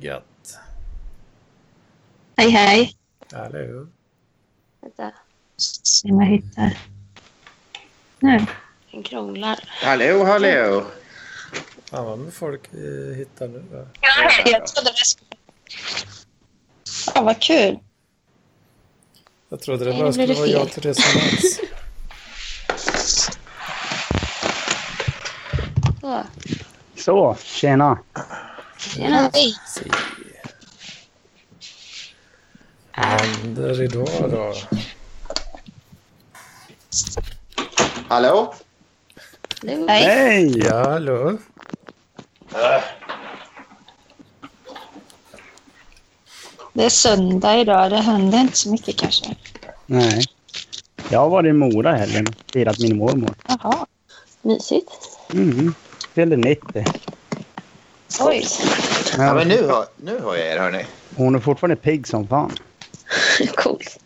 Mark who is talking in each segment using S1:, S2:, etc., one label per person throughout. S1: gött.
S2: Hej hej.
S1: Hallå.
S3: Vänta,
S2: Ska se om jag hittar. Nu.
S3: den krånglar.
S4: Hallå, hallå!
S1: Fan vad med folk eh, hittar nu. va?
S2: Jag trodde det skulle... Fan vad kul.
S1: Jag trodde det
S3: Nej,
S1: bara
S3: nu blev
S1: skulle
S3: det
S1: vara jag till
S3: fel.
S1: resonans.
S3: Så.
S5: Så, tjena.
S3: Tjena. Hej.
S1: se. Vad händer idag då?
S3: Hallå.
S4: Hallå?
S2: Hej.
S5: Hej!
S1: Ja, hallå.
S2: Det är söndag idag. Det händer inte så mycket kanske.
S5: Nej. Jag har varit i Mora i helgen och firat min mormor.
S2: Jaha.
S3: Mysigt.
S5: Mm. Fyllde 90.
S2: Oj.
S4: Ja, men nu hör, nu hör jag er, hörni.
S5: Hon är fortfarande pigg som fan.
S3: Coolt.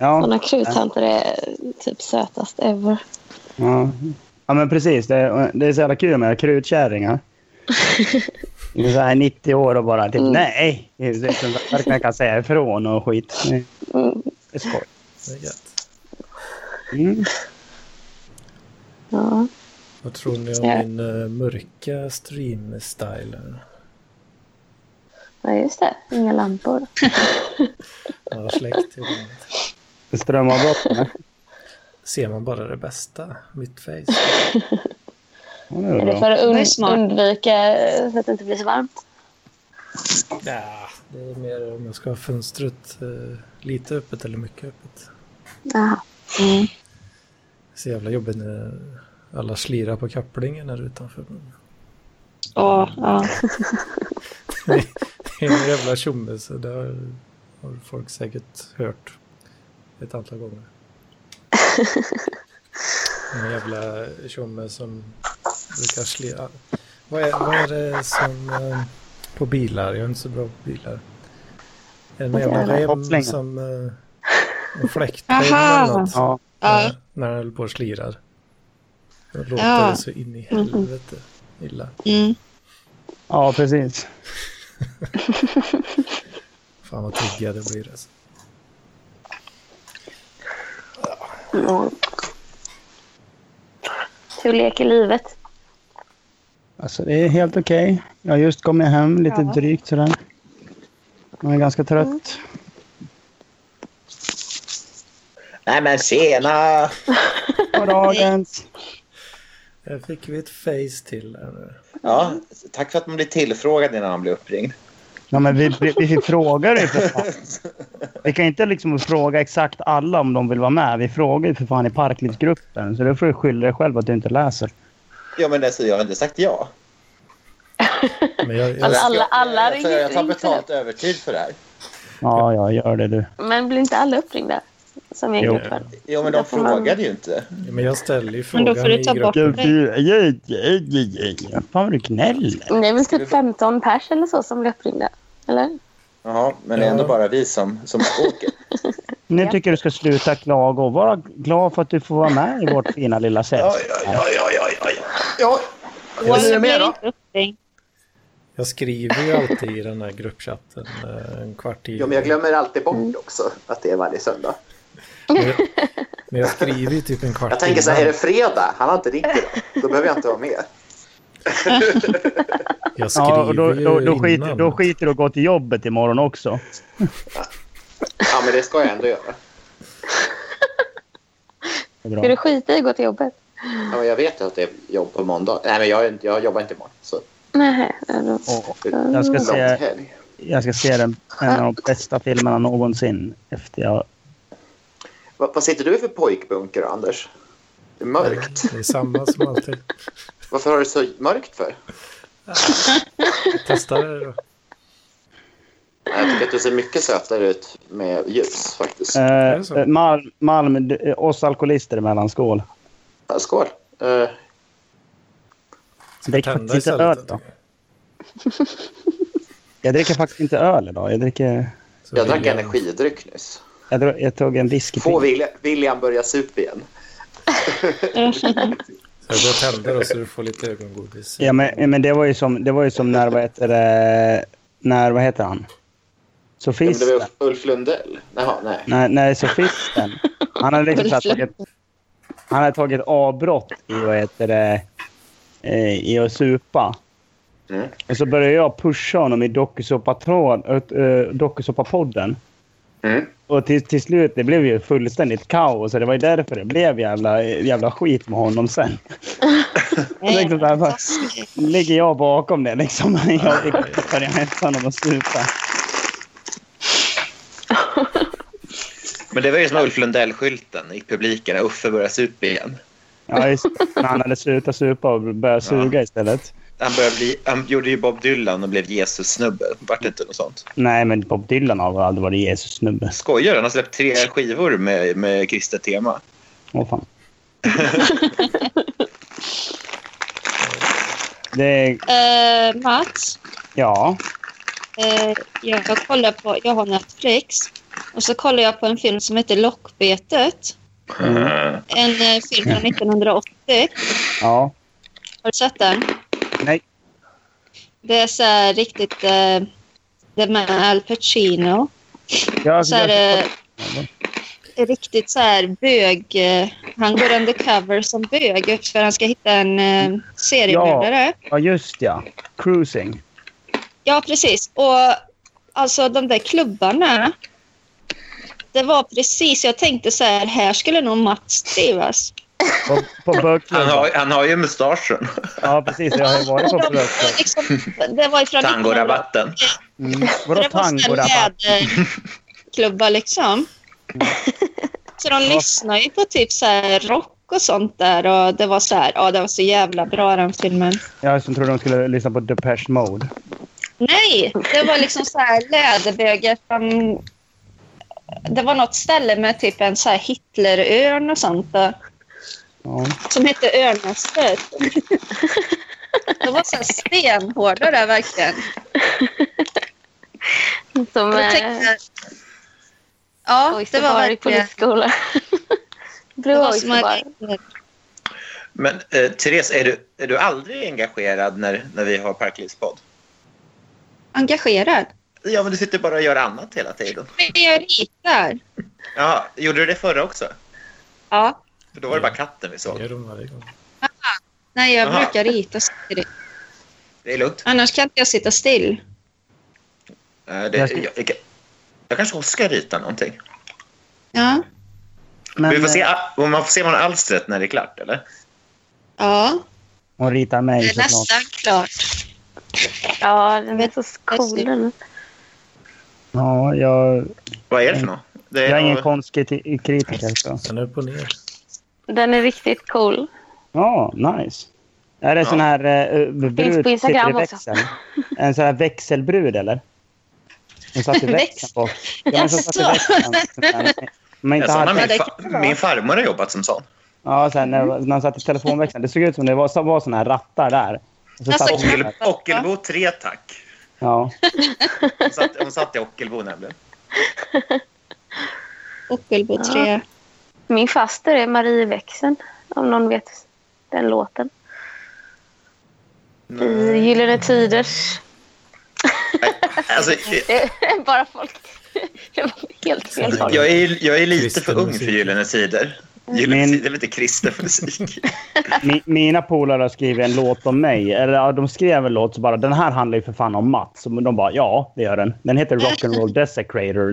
S5: Ja,
S3: Sådana kruttanter är typ sötast ever.
S5: ja. ja men precis. Det är, det är så jävla kul med krutkärringar. Det är så här 90 år och bara typ nej. Det är så- Verkligen kan säga ifrån och skit. Det
S3: Mm.
S5: är skoj.
S1: Det är gött.
S5: Mm.
S3: Ja.
S1: Vad tror ni
S3: Ja.
S1: om min eh, mörka stream-style?
S3: ja, just det. Inga lampor.
S1: Jag har släckt ibland.
S5: Det strömmar bort. eller?
S1: Ser man bara det bästa? Mitt face?
S5: Ja, det är
S3: Är det
S5: bra.
S3: för att
S2: Det är
S3: und-
S2: smart.
S3: undvika eh, så att det inte blir så varmt?
S1: Ja, det är mer om jag ska ha fönstret eh, lite öppet eller mycket öppet.
S3: Jaha.
S2: Mm.
S1: Det är så jävla jobbigt när alla slirar på kopplingen här utanför.
S2: Åh, ja.
S1: Det är en jävla tjomme så det har, har folk säkert hört ett antal gånger. En jävla tjomme som brukar slira. Vad är, vad är det som eh, på bilar? Jag är inte så bra på bilar. En jävla rem
S5: Hopplänga.
S1: som... eh, En fläktrem
S2: Aha.
S1: eller något.
S5: Ja.
S2: ja.
S1: Eh, När han höll på och slirar. Det låter
S2: Ja.
S1: så in i helvete illa.
S2: Mm.
S5: ja, precis.
S1: Fan vad trigga det blir alltså.
S3: Mm. Hur leker livet?
S5: Alltså det är helt okej. Jag har just kommit hem lite
S2: Ja.
S5: drygt sådär. Jag är ganska trött.
S4: Nej, men tjena!
S5: på dagens.
S1: Här fick vi ett face till här nu.
S4: Ja, tack för att man blir tillfrågad innan man blir uppringd.
S5: Ja, men vi, vi, vi frågar ju för fan. Vi kan inte liksom fråga exakt alla om de vill vara med. Vi frågar ju för fan i parklivsgruppen. Så då får du skylla dig själv att du inte läser.
S4: Ja, men alltså, jag har inte sagt ja.
S1: Men jag, jag,
S3: Alltså, alla alla
S4: jag, jag,
S3: ringer,
S4: jag tar
S3: ringer för
S4: betalt övertid för det här.
S5: Ja, ja, gör det du.
S3: det. Men blir inte alla uppringda? Som i en
S5: Jo.
S3: grupp? här?
S4: Jo, men de
S3: får man-
S4: frågade ju inte.
S1: men jag ställer ju frågan
S2: Men då får du ta
S1: i
S2: bort-
S1: gruppen.
S5: Fan vad du gnäller.
S3: Det är väl typ 15 pers eller så som blir uppringda? Eller?
S4: Jaha, men det är ändå
S1: Ja.
S4: bara vi som, som åker.
S5: Nu tycker jag du ska sluta klaga och vara glad för att du får vara med i vårt fina lilla sällskap.
S4: ja,
S2: Oj,
S4: är det
S2: jag
S4: mer
S2: blir
S4: då?
S2: inte uppringd.
S1: Jag skriver ju alltid i den här gruppchatten eh, en kvart i...
S6: Ja, men jag glömmer alltid bort också att det är varje söndag.
S1: Men jag, men jag skriver ju typ en kvart
S6: Jag tänker så här, är
S1: innan.
S6: det fredag? Han har inte ringt idag. Då behöver jag inte vara med.
S1: Jag skriver
S5: Ja, och då, då, då,
S1: ju
S5: skiter,
S1: innan.
S5: då skiter du och går till jobbet imorgon också.
S6: Ja, men det ska jag ändå göra.
S5: Det är bra.
S3: Ska du skita i att gå till jobbet?
S6: Ja, men jag vet ju att det är jobb på måndag. Nej, men jag, är inte- jag jobbar inte imorgon. Så
S3: Nej, ja, då-
S5: Och jag ska
S6: lång
S5: se...
S6: helg.
S5: Jag ska se den, en av de bästa filmerna någonsin. Efter jag...
S6: Vad, vad sitter du för pojkbunker, Anders? Det är mörkt.
S1: Det är samma som alltid.
S6: Varför har du så mörkt för?
S1: Testa det då.
S6: Nej, Jag tycker att du ser mycket sötare ut med ljus, faktiskt.
S5: Eh,
S1: det så?
S5: eh, Malm, Malm du- eh, oss alkoholister emellan, skål.
S6: Ja, Skål. Eh,
S5: Drick
S1: Tända
S5: faktiskt inte
S1: istället.
S5: öl idag. Jag dricker faktiskt inte öl idag. Jag, dricker,
S1: Så
S6: jag drack
S1: vill
S6: energidryck nyss.
S5: jag, dro- jag tog en whisky.
S6: Får William, William börja sup igen?
S1: Så jag går och tänder då så du får lite ögongodis.
S5: Ja, men, ja, men det var ju som, det var ju som när, vad heter det, när, vad heter han?
S6: Ja, men det
S5: Sofisten.
S6: var ju Ulf Lundell. Jaha, nej.
S5: Nej, nej sofisten. Han hade liksom så här tagit, han hade tagit avbrott i, vad heter det, eh, i att supa.
S6: Mm.
S5: Och så började jag pusha honom i dokusåpatråd- eh, dokusåpapodden.
S6: Mm.
S5: Och till, till slut, det blev ju fullständigt kaos. Och det var ju därför det blev jävla, jävla skit med honom sen.
S2: Nej,
S5: Liksom så här, bara-
S2: fantastiskt.
S5: ligger jag bakom det liksom. Jag börjar hetsa honom att supa.
S4: Men det var ju som Ulf Lundell-skylten i publiken. Uffe börjar supa igen.
S5: Ja, just det. När han hade slutat supa och börjat suga istället.
S4: Han, började bli, han gjorde ju Bob Dylan och blev Jesus-snubbe. Vart det inte något sånt?
S5: Nej, men Bob Dylan har aldrig varit Jesus-snubbe.
S4: Skojar du? Han har släppt tre skivor med, med kristet tema.
S5: Åh fan. det,
S2: Eh, Mats,
S5: ja.
S2: eh, jag, kollar på, jag har Netflix och så kollar jag på en film som heter Lockbetet.
S5: Mm.
S2: En eh, film från 1980.
S5: Ja.
S2: Har du sett den?
S5: Nej.
S2: Det är så här riktigt... Eh, det är med Al Pacino.
S5: Alltså, Jag,
S2: Så här, eh, riktigt så här bög... Eh, han går undercover som bög för han ska hitta en eh, seriemördare. Ja.
S5: ja, just ja. Cruising.
S2: precis. Och alltså de där klubbarna. Det var precis, jag tänkte så här, här skulle nog Mats trivas.
S5: På, på
S4: Han
S5: bögklubben.
S4: har, han har ju mustaschen.
S5: Ja, precis. Jag har ju varit på
S2: De,
S5: bögklubben.
S2: liksom, det var ifrån
S4: Tangorabatten.
S5: Mm. Vadå
S2: det var såna
S5: tangorabatt?
S2: läderklubbar liksom. Så de lyssnar ju på typ så här rock och sånt där och det var så här, ja det var så jävla bra den filmen.
S5: Jag som trodde de skulle lyssna på Depeche Mode.
S2: Nej, det var liksom så här läderbögar från... Det var något ställe med typ en så här Hitlerörn och sånt där,
S5: Ja.
S2: som hette Örnästet. De var så här stenhårda där verkligen.
S3: Som
S2: Jag
S3: eh,
S2: tänkte, ja, det var
S3: Oiseborg
S2: verkligen...
S3: polisskola.
S2: Det
S3: Blå
S2: var som
S3: Oiseborg.
S2: att-
S4: Men eh, Therese, är du, är du aldrig engagerad när, när vi har Parklivspodd?
S2: engagerad.
S4: Ja, men du sitter bara och gör annat hela tiden.
S2: Men jag ritar.
S4: Ja, gjorde du det förra också?
S2: Ja.
S4: För då var det bara katten vi
S1: Jag
S4: såg.
S1: gör de varje gång.
S2: Nej, jag
S4: Aha.
S2: brukar rita samtidigt.
S4: Det är lugnt.
S2: Annars kan inte jag sitta still.
S4: Eh, det, jag, jag, jag kanske också ska rita någonting.
S2: Ja.
S5: Men,
S4: vi får se,
S5: eh,
S4: om man får se man alstret när det är klart, eller?
S2: Ja,
S5: Hon ritar mig
S2: det är
S5: såklart.
S2: nästan klart.
S3: Ja, den är så cool. den.
S5: Ja, jag,
S4: Vad är det för något? Det
S5: jag är ingen
S4: något-
S5: konstkritiker. Så.
S1: Den är upp och ner.
S3: Den är riktigt cool.
S5: Ja, nice. Är det
S4: Ja.
S5: sån här eh, brud
S3: Finns på Instagram
S5: sitter i
S3: också.
S5: växeln? En sån här växelbrud, eller? Hon satt i växeln på... Ja, men som satt i
S2: Jaså?
S5: växeln. sån här- Men
S4: Ja,
S5: inte
S4: såna
S5: hade,
S4: min,
S2: det
S4: fa-
S2: kan det vara.
S4: min farmor har jobbat som sån.
S5: ja, så här, när, när han satt i telefonväxeln. Det såg ut som det var, så var såna här rattar där. Och så
S2: Alltså,
S5: satt hon
S4: Ockel,
S5: där.
S4: Ockelbo 3, tack.
S5: Ja.
S4: Hon satt, hon satt i Ockelbo nämligen.
S2: Ockelbo 3.
S3: Min faster är Marie Växeln, om någon vet den låten. I Gyllene Tiders.
S4: Alltså,
S3: Bara folk... Det var helt fel folk.
S4: jag, är, jag är lite för
S1: Kristen
S4: ung
S1: musik.
S4: för Gyllene Tider.
S3: Mm.
S4: Gyllene
S5: Min-
S4: Tider är lite kristen musik.
S5: Mi, mina polare har skrivit en låt om mig. Eller ja, de skrev en låt så bara den här handlar ju för fan om Mats. Och de bara ja, det gör den. Den heter Rock'n'Roll Desecrator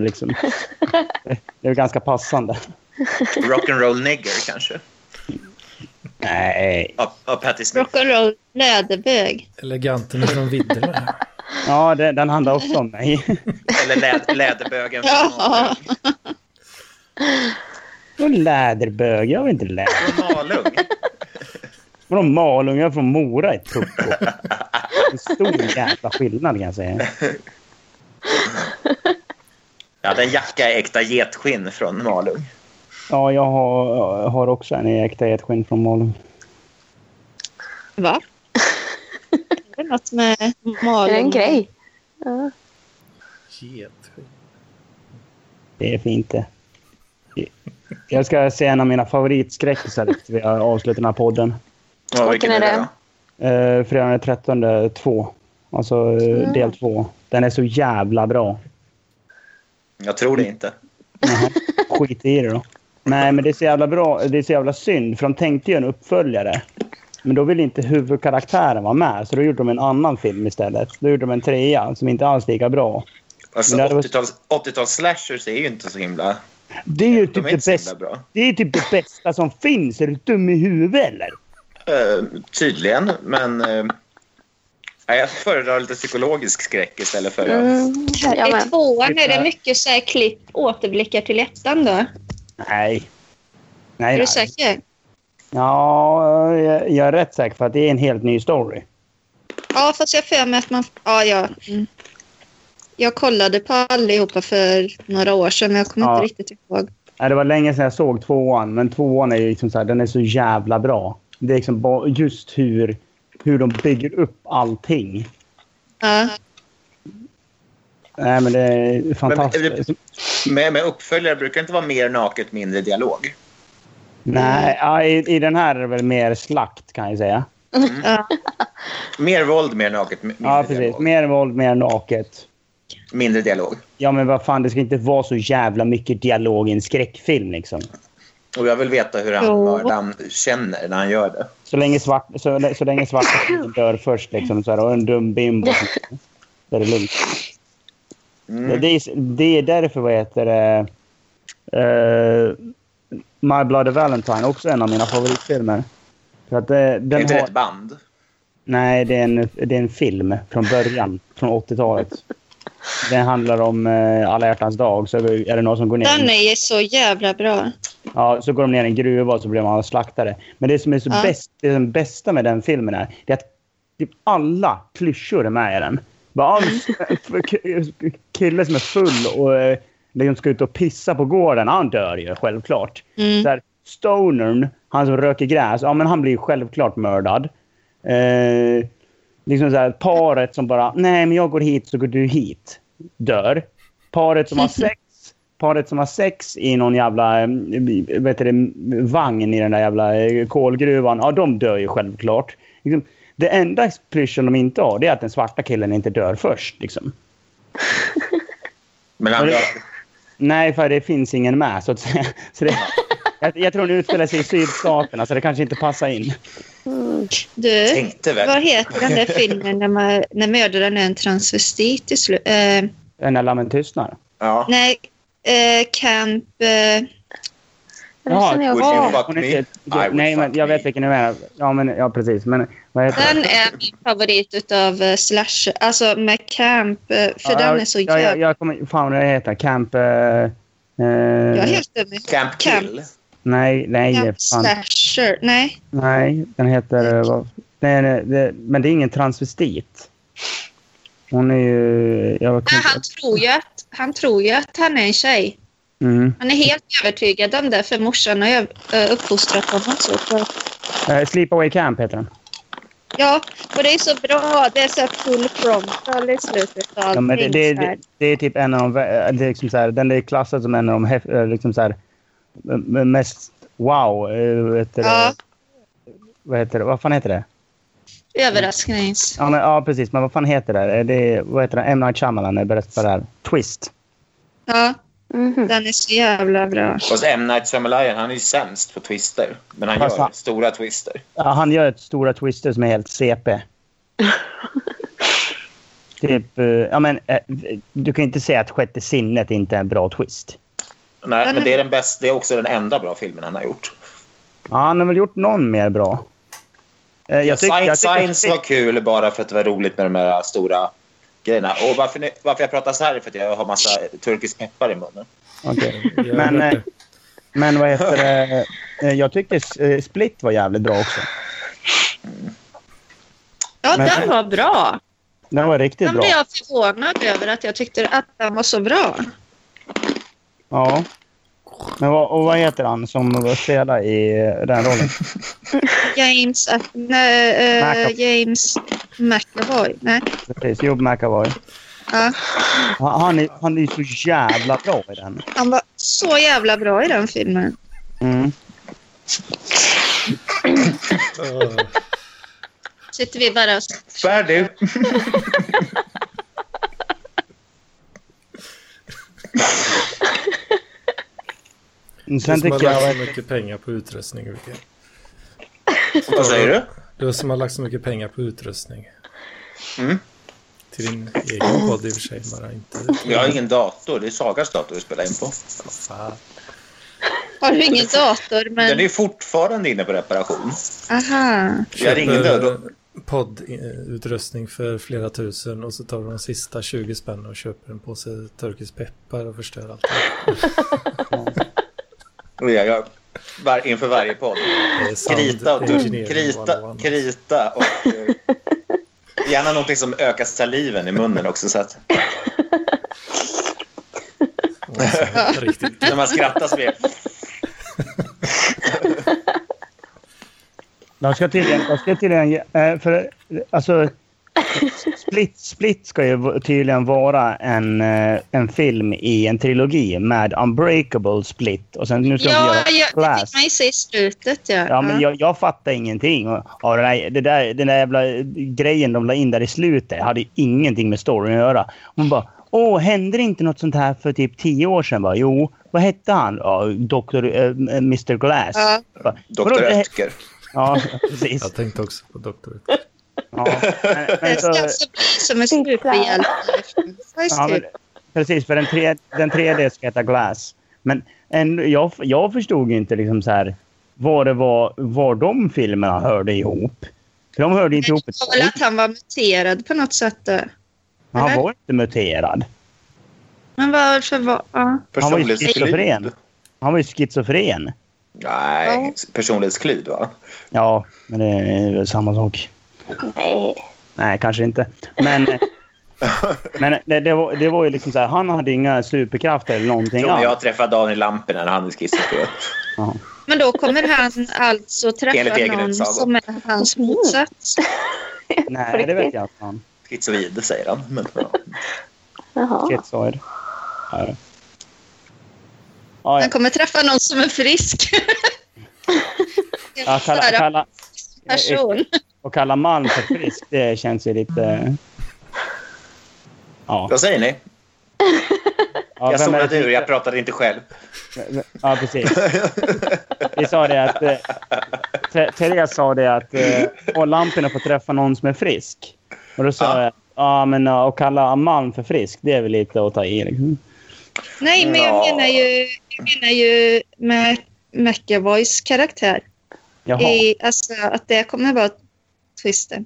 S5: liksom. Det är ganska passande.
S4: Rock'n'roll nigger kanske.
S5: Nej.
S4: Av, av Patti Smith.
S2: Rock'n'roll läderbög.
S1: Eleganten från vidderna.
S5: Ja, det, den handlar också om mig.
S4: Eller lä, Läderbögen. från
S2: Ja.
S4: Malung.
S5: Och läderbög. Jag vill inte läder.
S4: Från Malung.
S5: Vadå Malung? Jag är från Mora i Tucko. En stor jävla skillnad kan jag säga.
S4: Jag hade en jacka i äkta getskinn från Malung.
S5: Ja, jag har, jag har också en i äkta getskinn från Malung.
S2: Va? Är det något med
S3: Det
S2: Malung?
S3: är en grej.
S1: Getskit.
S5: Det är fint det. Jag ska säga en av mina favoritskräckisar efter vi har avslutat den här podden.
S4: Ja,
S3: Vilken är det?
S5: Eh, Fredagen den 13 2. Alltså eh, del 2. Den är så jävla bra.
S4: Jag tror det inte.
S5: Jaha, Skit i det då. Nej, men det är så jävla bra. Det är så jävla synd, för de tänkte ju en uppföljare. Men då ville inte huvudkaraktären vara med, så då gjorde de en annan film istället. Då gjorde de en trea som inte alls är lika bra.
S4: Alltså,
S5: Men det hade varit-
S4: 80-tals 80-tals slashers är ju inte så himla...
S5: Det är ju typ
S4: De är inte
S5: det
S4: så himla
S5: bästa.
S4: bra.
S5: Det är typ det bästa som finns. Är du dum i huvudet eller?
S4: Eh, tydligen, men... eh, nej, jag föredrar lite psykologisk skräck istället för...
S3: Mm, jag
S2: I
S3: med.
S2: tvåan är det mycket så här klipp, återblickar till ettan då.
S5: Nej. Nej,
S2: Är
S5: nej.
S2: du säker?
S5: Ja, jag, jag är rätt säker för att det är en helt ny story.
S2: Ja, fast jag har för mig att man... Ja, ja. Mm. Jag kollade på allihopa för några år sedan, men jag kommer
S5: Ja.
S2: inte riktigt ihåg.
S5: Nej, det var länge sedan jag såg tvåan, men tvåan är ju liksom så här, den är så jävla bra. Det är liksom bara just hur, hur de bygger upp allting.
S2: Ja.
S5: Nej, men det är fantastiskt.
S4: Med, med uppföljare brukar det inte vara mer naket, mindre dialog.
S5: Nej, ja, i, i den här är det väl mer slakt kan jag säga.
S2: Ja.
S4: Mer våld, mer naket, mi- mindre
S5: Ja, precis.
S4: dialog.
S5: Mer våld, mer naket.
S4: Mindre dialog.
S5: Ja, men vad fan, det ska inte vara så jävla mycket dialog i en skräckfilm liksom.
S4: Och jag vill veta hur han,
S2: Jo.
S4: mördaren känner när han gör det.
S5: Så länge, svart, så, så länge svarta snuten dör först liksom, så här, och en dum bimbo. Så är det lugnt.
S4: Mm.
S5: Det, är, det är därför vad heter det... eh, My Bloody Valentine, också en av mina favoritfilmer. För att, eh,
S4: Det är
S5: den
S4: inte
S5: har,
S4: rätt band.
S5: nej, det är, en, det är en film från början, från 80-talet. Den handlar om eh, Alla hjärtans dag. Så är det någon som går ner... i en
S2: Den är ju så jävla bra.
S5: Ja, så går de ner i en gruva och så blir man slaktare. Men det som är så
S2: Ja.
S5: bäst, det som bästa med den filmen är, det är att typ alla klyschor är med i den. Bara, "Ah, ja, en k- kille som är full och eh, liksom ska ut och pissa på gården, han dör ju självklart.
S2: Mm.
S5: Så här, Stonern, han som röker gräs, ja men han blir ju självklart mördad. Eh, liksom så här, paret som bara, nej men jag går hit så går du hit, dör. Paret som har sex, paret som har sex i någon jävla eh, vet du, det, vagn i den där jävla eh, kolgruvan, ja de dör ju självklart. Liksom, det enda plyschen de inte har det är att den svarta killen inte dör först. Liksom.
S4: Men han,
S5: Och det- Nej, för det finns ingen med. Så att säga. Så det, jag, jag tror den utspelar sig i sydstaterna, så det kanske inte passar in.
S2: Du,
S4: tänkte
S2: vad
S4: väl.
S2: heter den där filmen när, man, när mördaren är en transvestit i slu- eh,
S5: Den där lammen tystnar.
S4: Ja.
S2: Nej, eh, Camp... Eh,
S3: Resten är
S4: Would
S3: okej.
S4: you
S5: Ja,
S4: fuck
S5: hon
S4: me?
S5: heter-
S4: I would
S5: Nej, men
S4: fuck
S5: jag
S4: me.
S5: vet vilken du menar. Ja, men, ja precis. Men vad heter
S2: den är min favorit utav eh, slash... Alltså med Camp, eh, för
S5: Ja,
S2: den
S5: jag-
S2: är så
S5: ja,
S2: jävla...
S5: jag, jag kommer... Fan, vad det heter. Camp... eh, eh,
S2: jag är helt dum i
S4: Camp
S2: Camp.
S4: Kill.
S5: nej, nej.
S2: Camp
S5: fan.
S2: Slasher. Nej.
S5: Nej, den heter... eh, vad- Nej, nej, det, men det är ingen transvestit. Hon är ju... Jag
S2: Nej, han tror, ju att, han tror ju att han är en tjej.
S5: mm.
S2: Han är helt övertygad om det, för morsan har ju eh, uppfostrat honom så. För,
S5: Eh, Sleepaway Camp heter den.
S2: ja, och det är så bra. Det är så här full frontal i slutet av
S5: Ja, men det,
S2: allting.
S5: det,
S2: så här.
S5: det, det är typ en av de... vä- Det är liksom så här, den är klassad som en av de hef, eh, liksom så här, m- m- mest... Wow! eh, Vad heter, det?
S2: Ja.
S5: vad heter det? Vad fan heter det?
S2: Överrasknings.
S5: Ja, men, ja precis. Men vad fan heter det? Eh, det är, vad heter det? M. Night Shyamalan är berättad för det här. Twist.
S2: Ja,
S3: Mhm.
S2: den är så jävla bra.
S4: Och så M. Night Shyamalan, han är ju sämst på twister. Men han
S5: Fast
S4: gör
S5: han-
S4: stora twister.
S5: Ja, han gör ett stora twister som är helt CP. typ, eh, ja men eh, du kan ju inte säga att sjätte sinnet inte är en bra twist.
S4: Nej,
S2: Den
S4: men
S2: är-
S4: det är, den bästa, det är också den enda bra filmen han har gjort.
S5: Ja, han har väl gjort någon mer bra. Eh, jag tycker- jag
S4: Science,
S5: tycker-
S4: Science var kul bara för att det var roligt med de här stora grejerna. Och varför, ni, varför jag pratar så här är för att jag har massa turkisk peppar i munnen.
S5: Okej.
S1: Jag
S5: Men,
S1: hörde.
S5: eh, men vad heter det? Eh, Jag tycker eh, Split var jävligt bra också.
S2: Ja,
S5: Men-
S2: den var bra.
S5: Den var riktigt
S2: Den
S5: bra.
S2: blev jag förvånad över att jag tyckte att den var så bra.
S5: Ja. Men vad, och vad heter han som spelar i eh, den rollen?
S2: James... Att, nej, eh,
S5: McAvoy.
S2: James McAvoy. Nej.
S5: Precis, Job McAvoy.
S2: Ja.
S5: Han, han är, han är ju så jävla bra i den.
S2: Han var så jävla bra i den filmen.
S5: Mm.
S1: Åh,
S2: Sitter vi bara och...
S4: Färdig!
S1: Du
S5: Sen
S1: som har
S5: tycker jag...
S1: lagt så mycket pengar på utrustning, Ulrika.
S4: Vad säger du?
S1: Du som har lagt så mycket pengar på utrustning.
S4: Mm.
S1: Till din egen podd i och för sig, bara inte.
S4: Jag har ingen dator. Det är Sagas dator vi spelar in på.
S1: Fan.
S2: Har du ingen dator?
S4: Den
S2: Men...
S4: är fortfarande inne på reparation.
S2: Aha.
S4: Jag hade ingen
S1: Köper
S4: död.
S1: Poddutrustning för flera tusen och så tar de de sista 20 spänn och köper en påse turkisk peppar och förstör allt.
S4: Och jag gör var, inför varje podd.
S1: Det är sound
S4: Krita och
S1: engineering
S4: tur- krita,
S1: 101.
S4: krita och... eh, Gärna någonting som ökar saliven i munnen också. Så att
S1: Och så- Riktigt.
S4: när man skrattar så blir det...
S5: De ska tydligen... De ska tydligen eh, för, eh, alltså, Split, Split ska ju v- tydligen vara en, eh, en film i en trilogi med Unbreakable Split. Och sen nu ska de
S2: Ja,
S5: göra
S2: jag, det
S5: Glass.
S2: fick man ju se i slutet. Ja.
S5: Ja, men jag, jag fattar ingenting. Och, och den, där, det där, den där jävla grejen de la in där i slutet hade ju ingenting med storyn att göra. Hon bara, åh, hände det inte något sånt här för typ tio år sedan? Bara, jo, vad hette han? Ja, Dr. eh, Mr. Glass.
S2: Ja.
S5: Bara, "Vadå,
S4: Dr.
S5: det-
S4: Ötker.
S5: Ja, precis.
S1: Jag tänkte också på doktor.
S5: Ja. Men, men
S2: Det
S5: så,
S2: ska alltså bli som en superhjälte.
S5: ja, men, precis, för den, tre, den 3D ska heta Glass. Men en, jag, jag förstod ju inte liksom så här, vad det var, var de filmerna hörde ihop. För de hörde inte
S2: Jag
S5: ihop ett
S2: tror väl att han var muterad på något sätt. då.
S5: Men han
S2: Eller?
S5: var inte muterad.
S2: Men varför var... Ja.
S5: Han var ju
S4: Personlighetsklyvd.
S5: schizofren. Han var ju schizofren.
S4: Nej, personlighetsklyvd va?
S5: Ja, men det är väl samma sak.
S3: Nej.
S5: Nej, kanske inte. Men, men det, det, var, det var ju liksom så här, han hade inga superkrafter eller någonting.
S4: Tror ni
S5: alls.
S4: jag träffade Daniel Lampinen när han är schizofren.
S5: Ja.
S2: Men då kommer han alltså
S4: Enligt
S2: träffa
S4: egen
S2: någon
S4: utsago.
S2: som är hans motsats.
S5: Nej, det vet jag inte. Han.
S4: Schizoid säger han. Men, ja.
S2: Ah.
S3: Jaha.
S5: Schizoid. Ja. Ja, ja.
S2: Han kommer träffa någon som är frisk.
S5: Ja, kalla,
S2: Såhär,
S5: kalla,
S2: person.
S5: och kalla Malm för frisk, det känns ju
S2: Mm.
S5: lite... Ja.
S4: Vad säger ni?
S5: ja
S4: jag
S5: vem är det
S4: zonade
S5: som-
S4: ur, jag pratade inte själv.
S5: Ja, precis. Vi sa det att... Eh, Te- Therese sa det att... Eh, och Lampinen får träffa någon som är frisk. Och då sa
S4: Ja.
S5: jag... Ja, men eh, att kalla Malm för frisk, det är väl lite att ta i. Liksom.
S2: Nej, men jag
S4: Ja.
S2: menar ju, jag menar ju med McAvoys karaktär.
S5: Jaha.
S2: I, alltså, att det kommer vara twisten.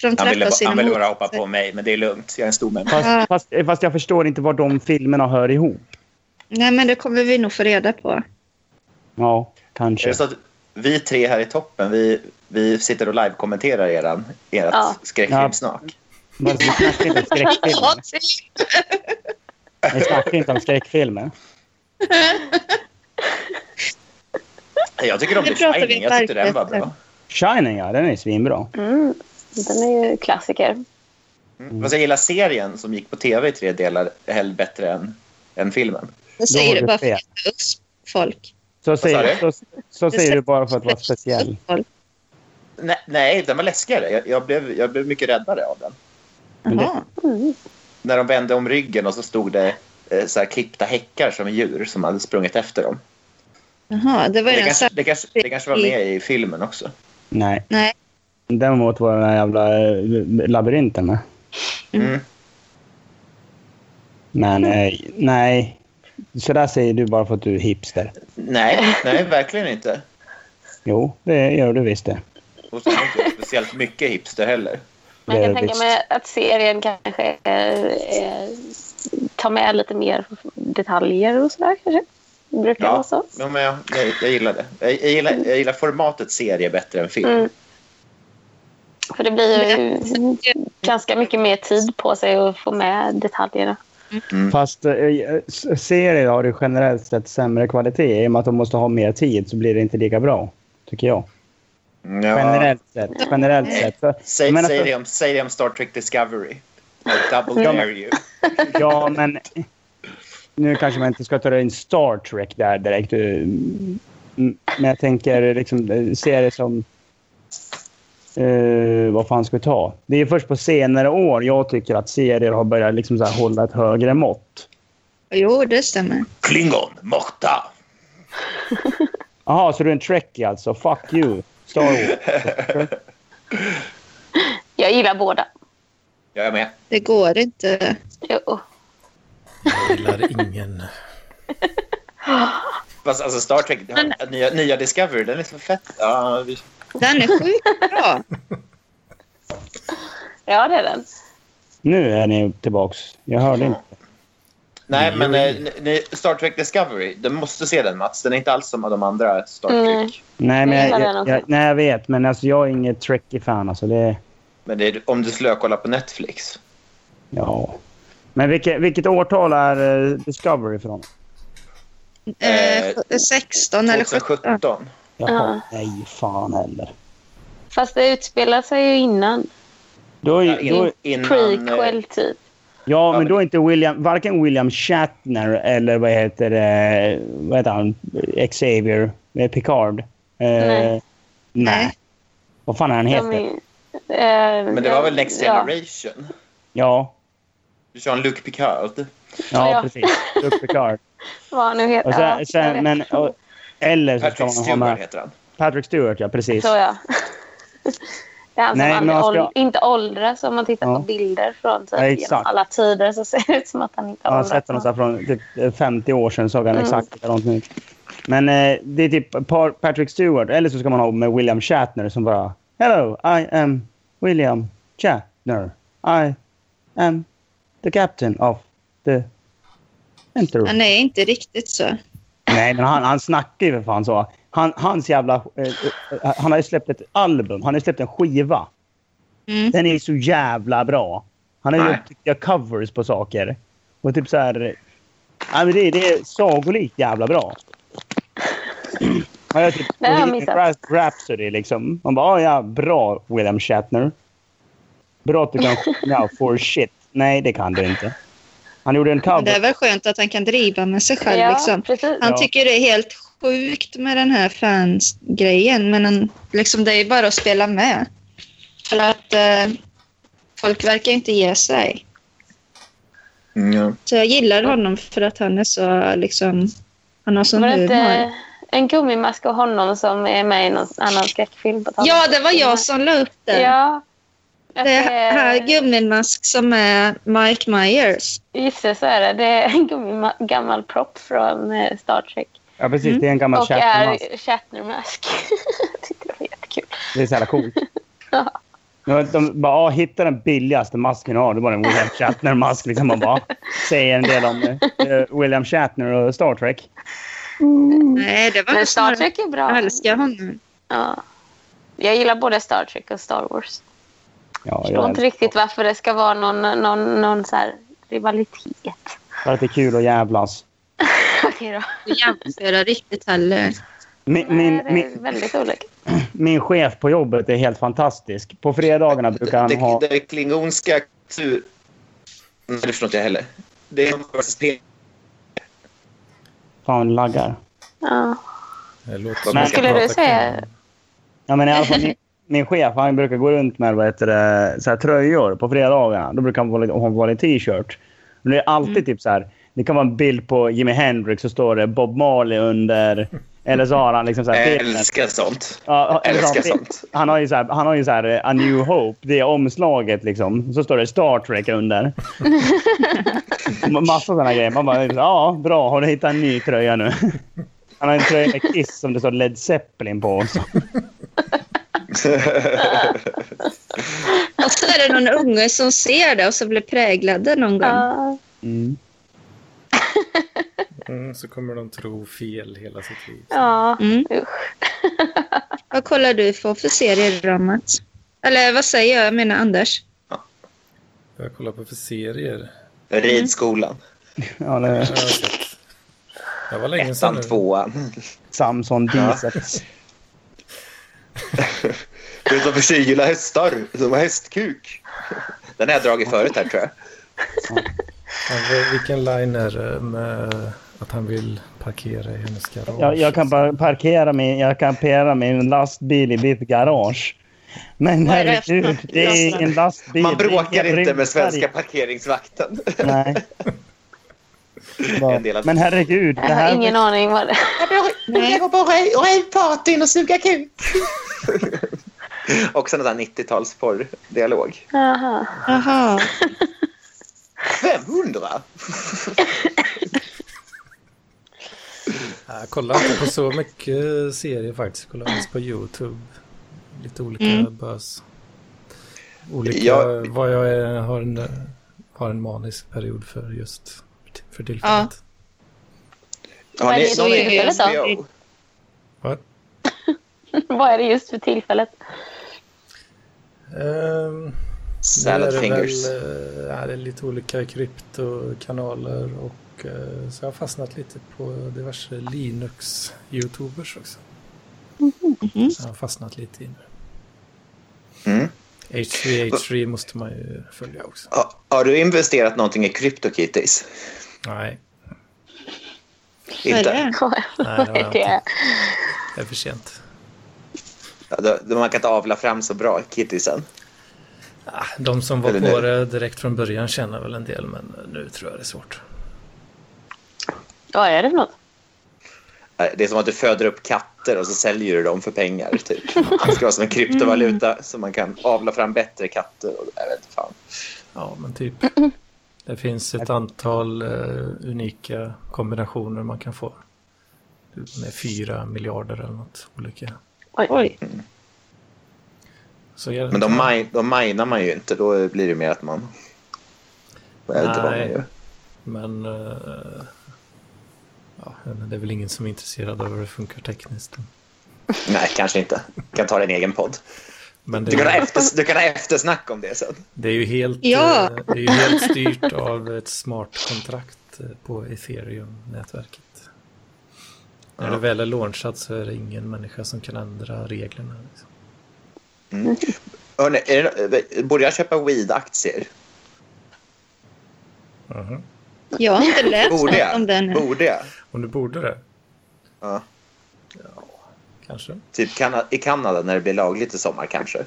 S2: För de
S4: Han ville,
S2: träffar
S4: ba-
S2: sina
S4: han ville bara hoppa
S2: motsatser.
S4: på mig, men det är lugnt. Jag är en stor människa.
S5: Fast, fast, eh, fast jag förstår inte var de filmerna hör ihop.
S2: Nej, men det kommer vi nog få reda på.
S5: Ja,
S4: Är
S5: kanske.
S4: det så att vi tre här i toppen, vi, vi sitter och live-kommenterar eran, ert
S3: Ja.
S4: skräckfilmssnack?
S5: Fast Vi snackar inte om skräckfilmer. Vi snackar inte om skräckfilmer.
S4: Jag tycker om
S2: Det
S4: The
S2: pratar vi
S4: Shining. Jag tyckte den var
S2: verkligen.
S4: bra.
S5: Shining, ja. Den är svinbra.
S3: Mm. Den är ju klassiker.
S4: Mm. Fast jag gillar serien som gick på tv i tre delar hellre bättre än, än filmen.
S2: Jag
S5: Då har
S2: säger det
S5: du
S2: bara för
S5: fel.
S2: att jag är usp folk.
S5: Så
S4: sa
S5: säger, så, så säger du bara för att vara speciell.
S2: Folk.
S4: Nej, nej den var läskigare. Jag, jag, blev, jag blev mycket räddare av den.
S5: Men det-
S2: Jaha.
S4: När de vände om ryggen och så stod det eh, så här, klippta häckar som djur som hade sprungit efter dem.
S2: Jaha, det var ju
S4: Det
S2: den
S4: kanske,
S2: samma.
S4: det, kanske, det kanske var med i filmen också.
S5: Nej.
S2: Nej.
S5: Däremot var den här jävla eh, labyrinten med.
S4: Mm.
S5: Men
S3: Mm.
S5: eh, nej. Så där säger du bara för att du är hipster.
S4: Nej, nej, verkligen inte.
S5: Jo, det gör du visst det.
S4: Och så är det inte speciellt mycket hipster heller.
S3: Men
S5: Det
S3: jag
S5: är
S3: kan tänka
S5: visst.
S3: mig att serien kanske eh, tar med lite mer detaljer och sådär kanske. Det brukar vara så.
S4: ja men jag, jag, jag gillar det. Jag, jag, gillar, jag gillar formatet serie bättre än film.
S3: Mm. För det blir ju ganska mycket mer tid på sig att få med detaljerna.
S5: Fast eh, eh, s- serier har ju generellt sett sämre kvalitet. I och med att de måste ha mer tid så blir det inte lika bra. Tycker jag.
S4: Ja.
S5: Mm. Generellt sett. Generellt sett. För,
S4: Säg,
S5: jag menar,
S4: säg,
S5: för-
S4: det om, säg det om Star Trek Discovery. I double
S5: Ja, men-
S4: dare you.
S5: Ja, men nu kanske man inte ska ta in Star Trek där direkt. eh, mm, Men jag tänker liksom eh, serier som... eh, vad fan ska vi ta? Det är först på senare år jag tycker att serier har börjat liksom så här hålla ett högre mått.
S2: Jo, det stämmer.
S4: Klingon, Mokta.
S5: Jaha, så du är en trekkie alltså? Fuck you. Star Wars.
S3: Jag gillar båda.
S4: Jag är med.
S2: Det går inte.
S3: Jo. oh.
S1: Jag gillar ingen.
S4: Fast alltså Star Trek, nya, nya Discovery, den är så fett. Ja, vi,
S2: Den är sjukt bra.
S3: Ja, det är den.
S5: Nu är ni tillbaks. Jag hörde inte.
S4: nej, men eh, ni- ni, Star Trek Discovery, du måste se den Mats. Den är inte alls som de andra Star Trek.
S3: Mm.
S5: Nej, men
S3: Jag
S5: jag,
S3: gillar den
S5: jag,
S3: också.
S5: jag, nej, jag vet. Men alltså, jag är inget Trekkie-fan. Alltså, det,
S4: Men det är, om du skulle kolla på Netflix.
S5: ja. Men vilket, vilket årtal är eh, Discovery från?
S2: Eh, 16 eller 17.
S4: 2017.
S5: Jaha,
S3: Ja.
S5: nej fan heller.
S3: Fast det utspelar sig ju innan.
S5: Då är,
S4: Ja,
S5: då är,
S4: in- innan, eh,
S3: Prequel, typ.
S5: ja, men då är inte William, varken William Shatner eller vad heter det, vad heter han, Xavier eh, Picard. Eh, nej.
S3: Nej.
S5: nej. Vad fan är han heter?
S3: De är, eh,
S4: Men det var väl Next
S3: ja.
S4: Generation?
S5: Ja,
S4: Jean-Luc Picard.
S5: ja,
S3: Ja.
S5: precis. Luke Picard.
S3: Vad han nu heter.
S5: Och sen,
S3: Ja, jag
S5: sen,
S3: vet.
S5: men, och, eller så ska
S4: Patrick
S5: man ha
S4: Stewart
S5: med
S4: heter han.
S5: Patrick Stewart, ja precis.
S3: Så ja. Det är han
S5: Nej,
S3: som
S5: men
S3: aldrig,
S5: han ska-
S3: åld- inte åldras. Om man tittar
S5: Ja.
S3: på bilder från typ,
S5: Ja, exakt.
S3: genom alla tider så ser det ut som att han inte
S5: Jag har
S3: åldras.
S5: sett honom så här från typ 50 år sedan såg han
S3: Mm.
S5: exakt likadant ut. Men eh, det är typ par- Patrick Stewart, eller så ska man ha med William Shatner som bara Hello, I am William Shatner. I am the captain of the Enterprise.
S2: Han är inte riktigt så.
S5: Nej, men han, han snackar ju för fan så. Han, hans jävla... Eh, eh, han har ju släppt ett album, han har ju släppt en skiva.
S2: Mm.
S5: Den är ju så jävla bra. Han har
S4: Nej.
S5: gjort tycker jag, covers på saker. Och typ så här... Ja, men det, det är sagolikt jävla bra. Han gör typ
S3: Det har jag
S5: Bohemian
S3: missat.
S5: Rhap- Rhapsody liksom. Man bara, "Ah, ja, bra William Shatner. Bra att du kan sjunga for shit. Nej, det kan du inte. Han gjorde en
S2: Men Det är
S5: cover.
S2: väl skönt att han kan driva med sig själv.
S3: Ja,
S2: Liksom.
S3: precis.
S2: Han
S5: Ja.
S2: tycker det är helt sjukt med den här fansgrejen. Men han, liksom, det är ju bara att spela med. För att eh, folk verkar inte ge sig.
S4: Mm.
S2: Så jag gillar honom för att han är så liksom... Han har sån
S3: Var det
S2: humor.
S3: inte en gummimask och honom som är med i någon annan skräckfilm? På tal-
S2: Ja, det var jag som la upp den.
S3: Ja. Alltså, eh, Att
S2: Det är här gummimask som är Mike Myers.
S3: Just det, så är det. Det är en gummima- gammal propp från eh, Star Trek.
S5: Ja, precis. Det är en gammal
S3: och
S5: Shatner-mask.
S3: är Shatner-mask. Jag tyckte det var jättekul.
S5: Det är så jävla coolt. Ja. De bara, ja, hitta den billigaste masken du har. Det var en William Shatner-mask. Liksom. Man bara säger en del om eh, William Shatner och Star Trek.
S2: Nej, det var
S3: Men Star
S2: snarare-
S3: Trek är
S2: Jag
S3: bra.
S2: älskar honom.
S3: Ja. Jag gillar både Star Trek och Star Wars.
S5: Ja,
S3: Jag förstår
S5: jag
S3: inte riktigt varför det ska vara någon, någon, någon så här rivalitet.
S5: För att det är kul att jävlas.
S3: Okej då.
S2: Och jämföra riktigt heller.
S5: Min,
S3: Nej,
S5: min,
S3: det är
S5: min,
S3: väldigt olika.
S5: min chef på jobbet är helt fantastisk. På fredagarna brukar han
S4: Det,
S5: ha...
S4: det klingonska kultur... Nej, det förstår inte jag heller. Det är
S5: Fan, laggar.
S3: Ja.
S1: Det låter Eh, som
S4: Men
S1: att jag
S3: skulle du
S1: pratar
S3: säga-
S1: kring-
S5: Ja, men i alla fall, min, min chef han brukar gå runt med vad heter det, så här, tröjor på fredagarna. Då brukar han vara lite- hon vara i en t-shirt. Men det är alltid
S4: Mm.
S5: typ så här. Det kan vara en bild på Jimi Hendrix så står det Bob Marley under. Eller så har han liksom så här...
S4: Jag
S5: bilden.
S4: älskar sånt.
S5: Ja, eller så har
S4: Älskar
S5: han-
S4: sånt.
S5: han har ju så här, han har ju så här eh, A New Hope, det är omslaget liksom. Så står det Star Trek under. M- Massa sådana grejer. Man bara, ja bra, har du hittat en ny tröja nu? Han har en tröja med Kiss som det står Led Zeppelin på också.
S2: Och så är det någon unge som ser det och så blir präglade någon gång.
S3: Ja.
S5: Mm.
S1: Mm, så kommer de tro fel hela sitt liv.
S3: ja.
S2: Mm.
S3: Usch.
S2: Vad kollar du på för serier då, Mats? Eller vad säger jag? Jag menar Anders.
S1: Jag kollar på för serier.
S4: Ridskolan.
S5: Ja, det är
S1: Jag har sett. Det var länge sedan
S4: Ettan,
S1: nu.
S4: tvåan.
S5: Samson biceps.
S4: Du som förkyla hästar. Som har hästkuk. Den har jag dragit förut här tror jag.
S1: Men vil- Vilken line är det med att han vill parkera i hennes garage?
S5: Jag, jag kan bara parkera min, jag kan parkera min lastbil i ditt garage. Men
S2: Vad är det för
S5: herregud, det är en lastbil.
S4: Man
S5: Det är
S4: bråkar
S5: ingen
S4: inte med
S5: rymdsverige.
S4: svenska parkeringsvakten.
S5: Nej.
S4: Jag delar-
S5: Men herregud, det
S3: Jag har
S5: här...
S3: ingen aning vad det
S2: Nej.
S4: gå på rave- ravepartyn och suga kuk. Också en sån här 90-talsporr-dialog.
S3: Aha.
S2: Aha.
S4: 500?
S1: Jag kollar inte på så mycket serier faktiskt. Jag kollar mest på YouTube. Lite olika
S2: Mm.
S1: bös. Olika
S4: Jag-
S1: vad jag är, har, en, har en manisk period för just för tillfället.
S4: Har
S3: Nej,
S4: ni
S3: det är ju
S4: någon
S3: tillfället då.
S4: HBO?
S1: Va?
S3: Vad är det just för tillfället?
S1: Ehm, nu är
S4: Salad
S1: det väl
S4: fingers.
S1: eh, ja, det är lite olika kryptokanaler och eh, så jag har fastnat lite på diverse Linux-youtubers också. Jag har fastnat lite i nu.
S4: Mm.
S1: H3H3 måste man ju följa också.
S4: Ha- Har du investerat någonting i CryptoKitties?
S1: Nej,
S2: Vad är
S4: Inte?
S2: det?
S1: nej det har jag
S3: Det
S1: inte.
S3: är
S1: Det är för sent.
S4: Ja, då- då Man kan inte avla fram så bra kittisen.
S1: Ah, De som var
S4: Eller
S1: på
S4: nu.
S1: det direkt från början känner väl en del, men nu tror jag det är svårt.
S3: Vad är det för något?
S4: Nej, Det är som att du föder upp katter och så säljer du dem för pengar. Typ. Det ska vara som en kryptovaluta så man kan avla fram bättre katter. Och, jag vet inte fan.
S1: Ja, men typ. Det finns ett antal eh, unika kombinationer man kan få. Med fyra miljarder eller något olika.
S2: Oj.
S1: Så är det
S4: Men de,
S1: inte.
S4: mine, de minar man ju inte. Då blir det mer att man... Jag vet inte vad man
S1: Nej.
S4: gör.
S1: Men eh, ja, men det är väl ingen som är intresserad av hur det funkar tekniskt.
S4: Nej, kanske inte. Du kan ta din egen podd.
S1: Men det
S4: Du kan ha,
S1: är,
S4: efters, du kan ha eftersnack om det sen.
S1: det är ju helt,
S2: Ja.
S1: eh, det är ju helt styrt av ett smart kontrakt eh, på ethereum-nätverket. När det väl är launchat så är det ingen människa som kan ändra reglerna. Liksom.
S4: Hörrni, är det, borde jag köpa weed-aktier?
S1: Mhm.
S2: Jag har inte läst
S4: Borde
S2: något om
S4: jag?
S2: den. än.
S4: Borde jag?
S1: Om du borde det?
S4: Ja.
S1: Kanske?
S4: Typ Kana- i Kanada när det blir lagligt i sommar kanske.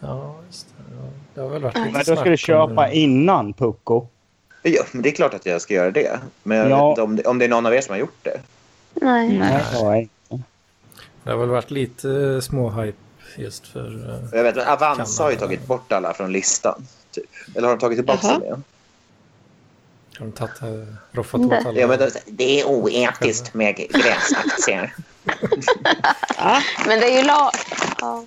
S1: Ja, just det. Ja, Det har väl varit lite
S5: Men då ska du
S1: snack om eh,
S5: köpa
S1: det.
S5: innan Pucko.
S4: Ja, men det är klart att jag ska göra det. Men jag
S5: Ja.
S4: vet inte om, det- om det är någon av er som har gjort det.
S3: Nej.
S5: Nej.
S1: Det har väl varit lite småhype just för... eh,
S4: Jag vet, men Avanza har ju
S1: Kanada.
S4: tagit bort alla från listan. Typ. Eller har de tagit tillbaka
S2: Jaha.
S4: dem igen?
S1: Har de tagit, eh, roffat åt alla?
S4: Ja, men det, det är oetiskt med gränsaktier.
S2: Ja.
S3: Men det är ju, la- ja.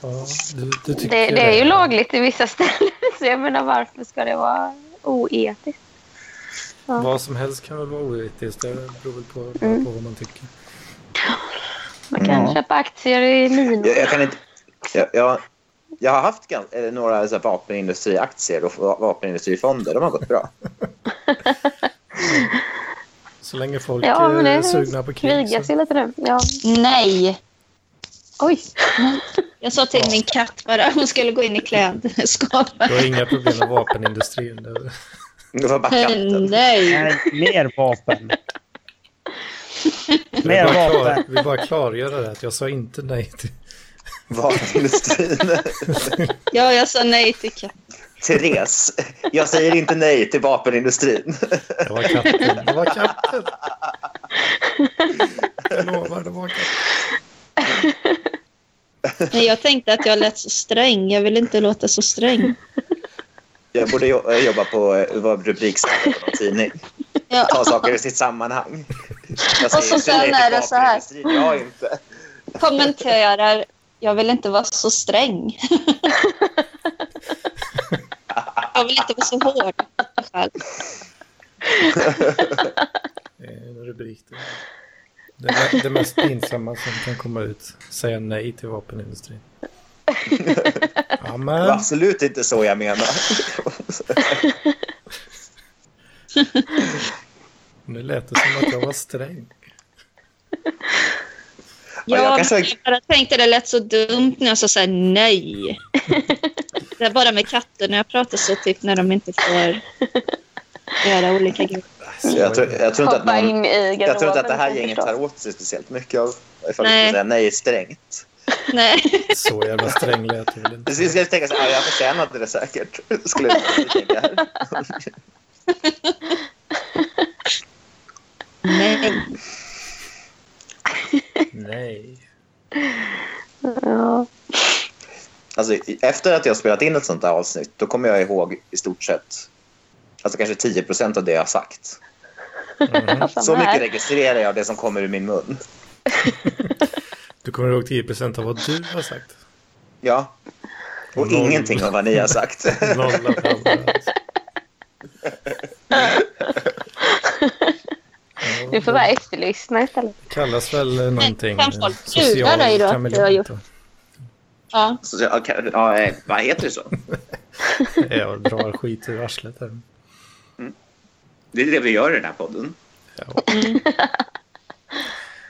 S1: Ja, du, du tycker
S3: det, det är ju lagligt i vissa ställen. Så jag menar, varför ska det vara oetiskt?
S1: Vad som helst kan väl vara oetiskt. Det beror väl på, på vad man tycker.
S3: Man kan
S5: Ja.
S3: köpa aktier i minor.
S4: Jag, jag kan inte... Jag, jag, jag har haft gan- eller några så här vapenindustriaktier och va- vapenindustrifonder. De har gått bra.
S1: Så länge folk
S3: Ja, men
S1: eh,
S3: det
S1: är
S3: är
S1: sugna på krig.
S3: Krigas
S1: Så,
S3: ju lite nu. Ja.
S2: Nej.
S3: Oj.
S2: Jag sa till min katt bara hon skulle gå in i klädskåpet.
S1: då är inga problem med vapenindustrin. Det-
S4: Det var bara katten.
S2: Nej.
S5: Nej, mer vapen.
S1: Vi
S5: Mer
S1: bara, klar,
S5: vapen.
S1: vi bara klargör det här, att jag sa inte nej till...
S4: Vapenindustrin.
S2: Ja, jag sa nej till katt.
S4: Therese, jag säger inte nej till vapenindustrin.
S1: Det var katten. Det var katten. Jag lovar, det var katten.
S2: Nej, jag tänkte att jag lät så sträng. Jag vill inte låta så sträng.
S4: Jag borde jo- eh, jobba på eh, vara rubriksättare på någon tidning. Ta
S2: Ja.
S4: saker i sitt sammanhang. Jag
S2: så
S4: säger inte
S2: sen
S4: nej till
S2: är det så här.
S4: vapenindustrin, Jag har inte.
S2: Kommenterar. Jag vill inte vara så sträng. Jag vill inte vara så hård. i alla fall.
S1: Det är en rubrik. Det, det, det mest pinsamma som kan komma ut. Säga nej till vapenindustrin.
S4: Det var
S1: Amen.
S4: absolut inte så jag menar.
S1: Nu lät det som att jag var sträng.
S4: Ja, jag
S2: Ja,
S4: kanske-
S2: men jag bara tänkte det lät så dumt när jag sa så här nej. Det är bara med katter när jag pratar så typ när de inte får göra olika grejer.
S4: Jag tror, jag tror, inte,
S3: Hoppa
S4: att någon,
S3: in i garderoben.
S4: jag tror inte att det här gänget
S3: förstås.
S4: tar åt sig speciellt mycket av ifall
S2: Nej.
S4: du säger nej strängt.
S2: Nej.
S1: Så jävla sträng lät jag väl inte.
S4: Jag skulle jag tänka så här, ja, jag förtjänade det säkert. Skulle jag tänka här.
S1: Nej.
S3: Ja.
S4: Alltså, i- efter att jag spelat in ett sånt här avsnitt, då kommer jag ihåg i stort sett Alltså kanske 10 av det jag har sagt.
S1: Mhm.
S4: Så
S3: Samma alltså, här.
S4: mycket registrerar jag av det som kommer ur min mun.
S1: Du kommer ihåg 10 procent av vad du har sagt.
S4: Ja. Och
S1: Noll.
S4: ingenting av vad ni har sagt.
S1: Noll av det andra. Ja,
S3: Du får vara efterlyssna istället.
S1: det kallas väl eh, någonting
S2: Men kan folk
S1: eh, social
S3: lura dig då att du har
S1: kameleont,
S3: gjort-
S1: va?
S2: Ja.
S4: Så, ja, ka- ja, eh, vad heter det så?
S1: Jag drar skit ur arslet här.
S4: Det är det vi gör i den här podden.
S1: Ja.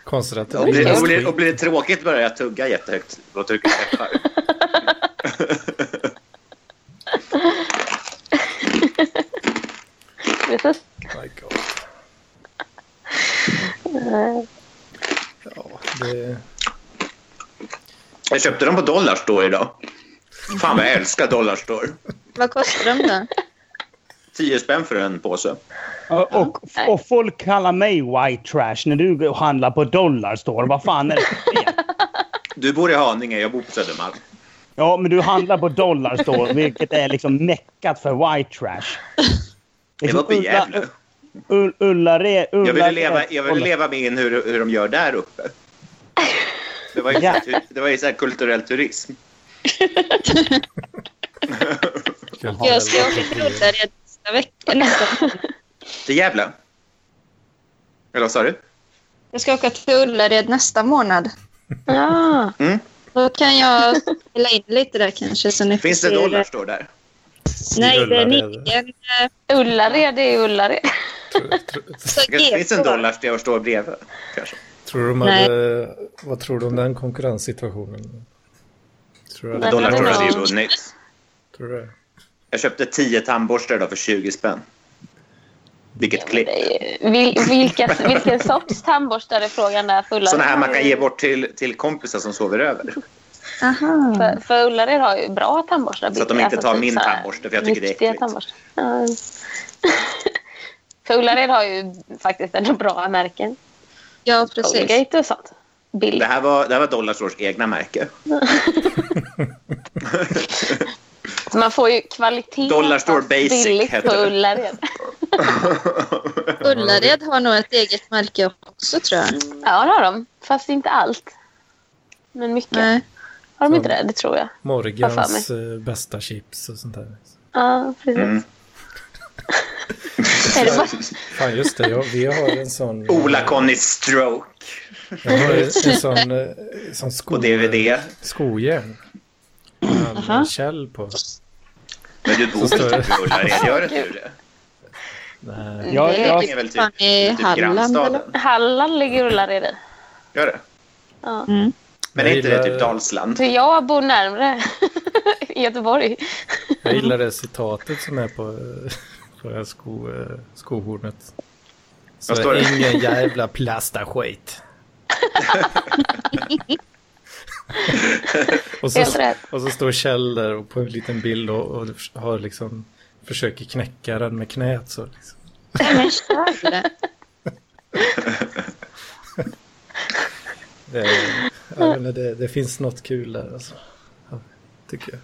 S1: Konstigt att det
S4: Och blir, och
S1: mest
S4: blir, och
S1: skit.
S4: blir det tråkigt börjar jag tugga jättehögt och trycka käppar.
S3: Precis.
S1: My God. Ja, det...
S4: Jag köpte dem på Dollarstore idag. Fan vad jag älskar Dollarstore.
S2: Vad kostar de då?
S4: 10 spänn för en påse.
S5: Och, och, och folk kallar mig white trash när du handlar på Dollarstore. Vad fan är det för fel?
S4: Du bor i Haninge, jag bor på Södermalm.
S5: Ja, men du handlar på Dollarstore, vilket är liksom meckat för white trash. Liksom
S4: Jag var på Gävle.
S5: Ull- Ullared...
S4: Jag ville
S5: Ullared-
S4: leva, jag ville leva mig in hur, hur de gör där uppe. Det var ju,
S5: Ja.
S4: det var ju så här kulturell turism.
S2: Jag ska åka till Ullared nästa vecka. Nästa.
S4: Till Gävle. Eller vad sa du?
S2: Jag ska åka till Ullared nästa månad.
S3: Ja.
S4: Mm?
S2: Då kan jag spela in lite där kanske. Så ni får
S4: Finns det
S2: se
S4: Dollarstore där?
S2: Nej, det är en
S1: Ullared.
S2: egen.
S3: Ullared är Ullared.
S2: Så
S4: Det kanske finns en
S2: G2.
S4: Dollarstore står bredvid. Kanske.
S1: Tror de
S2: Nej.
S1: hade, vad tror du om den konkurrenssituationen? Tror du, det,
S3: Nej, men-
S4: Dollarstore hade ju
S3: Ja.
S4: vunnit.
S1: tror du det?
S4: Jag köpte 10 tandborstar idag för 20 spänn. Vilket klipp.
S3: Det är- Vil, vilka, vilken sorts tandborstare frågan är för Ullared?
S4: Såna här man
S3: har
S4: kan
S3: ju-
S4: ge bort till, till kompisar som sover över.
S2: Aha.
S3: För, för Ullared har ju bra tandborstar.
S4: Så att de inte tar
S3: typ
S4: min
S3: så här
S4: tandborste, för jag tycker det är
S3: riktiga
S4: äckligt.
S3: tandborstar. Ja. för Ullared har ju faktiskt ändå bra märken.
S2: Ja, precis.
S3: Colgate och sånt. Bill.
S4: Det här var, det här var Dollarstores egna märke.
S3: Så man får ju kvalitet
S4: Dollarstore
S3: fast
S4: Basic
S3: billigt
S4: heter
S3: på
S4: det.
S3: Ullared.
S2: Ullared har nog ett eget märke också tror jag.
S3: Ja, det har de. Fast inte allt. Men mycket.
S2: Nej.
S3: Har de
S1: Så-
S3: inte det? Det tror jag.
S1: Morgans eh, bästa chips och sånt där.
S3: Ja, precis.
S4: Mm.
S3: Är det bara...
S1: Fan just det, jag, vi har en sån... eh,
S4: Ola-Conny Stroke
S1: Jag har en sån, eh, sån sko,
S4: på DVD.
S1: skojärn. Han har Kjell på.
S4: Men du bor
S1: Så
S4: väl
S1: står det.
S4: typ i Ullared? Gör inte du det?
S1: Nej,
S5: Ja,
S2: det ligger
S5: ja.
S4: Det är väl typ-
S2: fan i
S4: Typ
S2: Halland eller?
S4: grannstaden.
S3: Halland ligger Ullared i.
S4: Gör det?
S3: Ja.
S4: Men
S1: Jag
S4: är inte det
S1: gillar-
S4: typ Dalsland?
S3: För jag bor närmre i Göteborg.
S1: jag gillar det citatet som är på, eh, på det här sko, eh, skohornet. Så
S4: Vad står det?
S1: ingen jävla plastaskit. och, så,
S3: Helt rätt.
S1: och så står Kjell där och på en liten bild och, och har liksom, försöker knäcka den med knät. Så liksom. det, är- jag vet inte, det, det finns något kul där alltså. Ja, Tycker jag.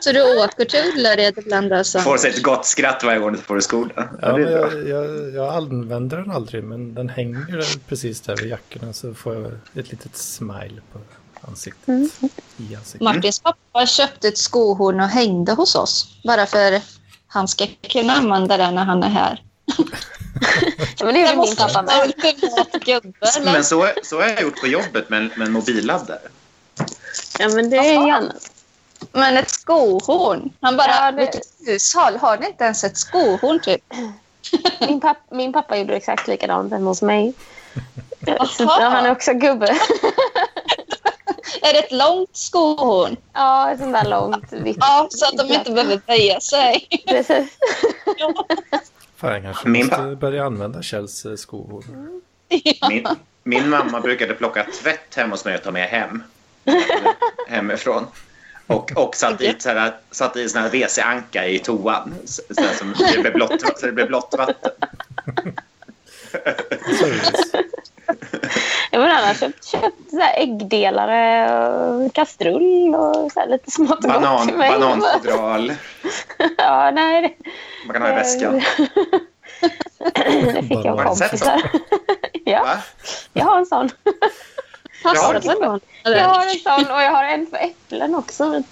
S2: Så du åker till Ullared ibland alltså?
S4: Får sig ett gott skratt varje gång du får i skolan.
S1: Ja,
S4: Ja, det
S1: men
S4: är bra.
S1: jag, jag, jag använder den aldrig, men den hänger där precis där vid jackorna så får jag ett litet smile på ansiktet.
S3: Mm.
S1: I ansiktet.
S2: Martins pappa köpte ett skohorn och hängde hos oss. Bara för han ska kunna använda det när han är här.
S3: Ja, Men det är ju min
S2: vara
S3: pappa med.
S2: ultimat gubbe eller?
S4: Men så, så har jag gjort på jobbet med, en- med en mobilladdare.
S3: Ja, men det är ju annat.
S2: Men ett skohorn. Han bara,
S3: Ja, det-
S2: vilket hushåll? Har ni inte ens ett skohorn typ?
S3: Min, papp, min pappa gjorde exakt likadant hemma hos mig. Så
S2: Jaha.
S3: han är också gubbe.
S2: Är det ett långt skohorn?
S3: Ja, ett sånt där långt vitt.
S2: Ja, så att de inte behöver böja sig.
S3: Precis.
S1: Fan, jag kanske
S4: Min
S1: måste
S4: pa-
S1: börja använda Kjells eh, skor.
S4: Min, min mamma brukade plocka tvätt hemma hos mig och ta med hem. Hemifrån. Och, och satt i, så här, satt i sån här WC-anka i toan. Så, så, här, som, det blev blått, så det blev blått vatten.
S1: Service.
S3: Ja, men annars köpt, köpt så här äggdelare och kastrull och så här lite smått och gott
S4: Banan,
S3: till mig.
S4: bananfodral.
S3: Ja, nej. det-
S4: Man kan ha i
S3: Jag
S4: väskan.
S3: fick en
S1: Har
S4: du sett
S3: kompis här. Ja,
S4: Va?
S3: jag har en sån.
S4: Har
S3: Passar
S4: du
S3: det för någon? Jag har en sån och jag har en för äpplen också.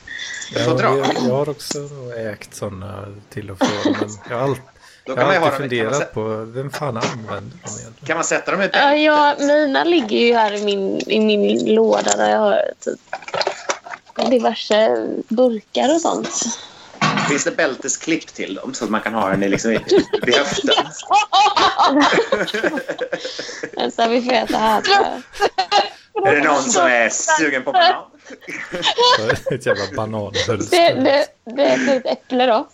S1: Jag,
S4: Fodral.
S1: jag, jag har också ägt sådana till och från. Men jag har, all,
S4: Då
S1: jag har
S4: kan man ju ha
S1: alltid
S4: dem, kan
S1: funderat
S4: man, sä-
S1: på vem fan använder dem egentligen?
S4: kan man sätta dem i
S3: Ja,
S4: bänken?
S3: ja, mina ligger ju här i min, i min låda där jag har typ diverse burkar och sånt.
S4: Finns det bältesklipp till dem så att man kan ha den i, liksom, i, i höften?
S3: Men så här, vi får äta här.
S4: Är det någon som är sugen på banan?
S1: Så Ett jävla bananhölster.
S3: Det, det, det är ett litet äpple då.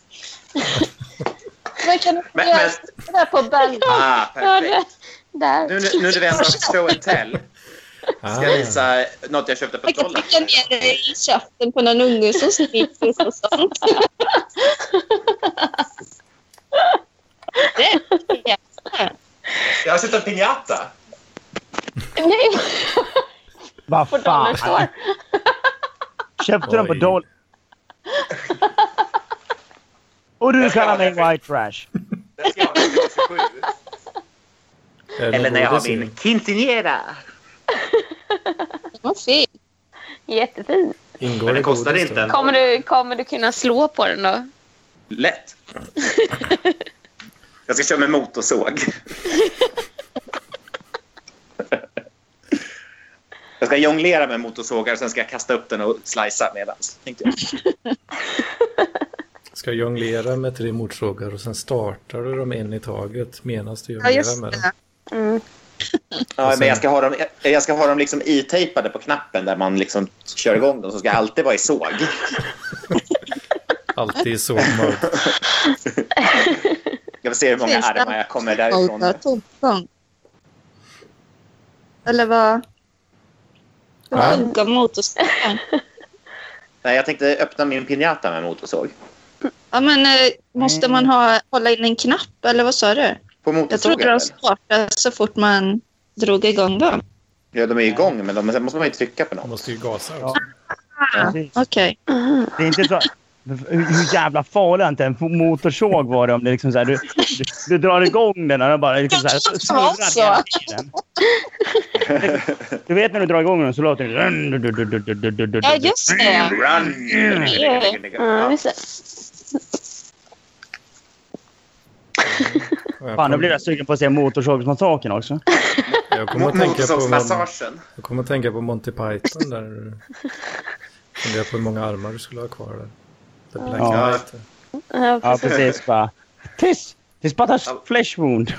S2: Men kan du
S4: Men-
S2: göra
S4: men-
S2: det där på berg?
S4: Ah,
S3: Ja,
S4: perfekt.
S3: det, där.
S4: Nu, nu, nu när vi ändå har show and tell
S1: Ah,
S4: ska jag visa något jag köpte på
S2: Man kan
S4: Dollar.
S2: trycka ner det i käften på någon unge som skriker och sånt. Det är
S4: Jag har sett en piñata.
S3: Nej,
S5: Vad
S3: på
S5: fan.
S3: dollarn står.
S5: Köpte den på
S1: Oj.
S5: Dolly. Och du
S4: Jag ska
S5: kallar mig
S4: ha den.
S5: white trash.
S4: Den ska jag ha när jag fyller 27.
S1: är det
S4: Eller när jag
S1: någon
S4: har
S1: sin-
S4: min quinceañera.
S2: vad fint.
S3: Jättefin.
S1: Ingår
S4: Men det
S1: i
S4: kostar
S1: godis
S4: inte.
S1: då?
S3: Kommer du, kommer du kunna slå på den då?
S4: Lätt. Jag ska köra med motorsåg. Jag ska jonglera med motorsågar och sen ska jag kasta upp den och slicea medans. Tänkte jag.
S1: Ska jonglera med tre motorsågar och sen startar du dem en i taget medan du
S2: Ja,
S1: jonglerar
S2: just
S1: med dem.
S2: det.
S3: Mm.
S4: Ja, men jag ska ha dem, jag- jag ska ha dem liksom itejpade på knappen där man liksom kör igång dem. Så ska jag alltid vara i såg.
S1: Alltid i sovmode.
S4: Jag får se hur många
S2: Finns det-
S4: armar jag kommer därifrån. med.
S2: tomgång. Eller vad?
S1: Ja.
S2: Vad funkar motorcykeln?
S4: Nej, jag tänkte öppna min pinjata med motorsåg.
S2: Ja, men eh, måste man ha, hålla in en knapp eller vad sa du?
S4: På
S2: Jag trodde
S4: motorsågen?
S2: de
S4: väl?
S2: startade så fort man drog igång dem.
S4: Ja, de är
S5: Mm.
S4: igång, men de, men sen måste man ju trycka på
S1: Man
S4: något.
S1: måste ju gasa också.
S5: Ja. Precis.
S2: Okej.
S5: Det är inte så... Hur, hur jävla farlig inte en motorsåg var det om det liksom så här, du, du, du drar igång den och den bara liksom så här, snurrar hela tiden. Du vet när du drar igång den så låter det...
S2: Ja, just det.
S4: Run!
S3: Mm,
S4: Ja.
S3: visst är
S1: Och Jag
S5: Fan, nu blir
S1: kommer
S5: jag sugen på att se Motorsågsmassakern också.
S1: jag kommer att tänka på Mon-
S4: Motorsågsmassagen.
S1: jag kommer att tänka på Monty Python där. Funderar på hur många armar du skulle ha kvar där. The Black
S5: Ja.
S1: Knight.
S3: det.
S5: Ja, precis. Bara. Tis! Tis but a flesh wound.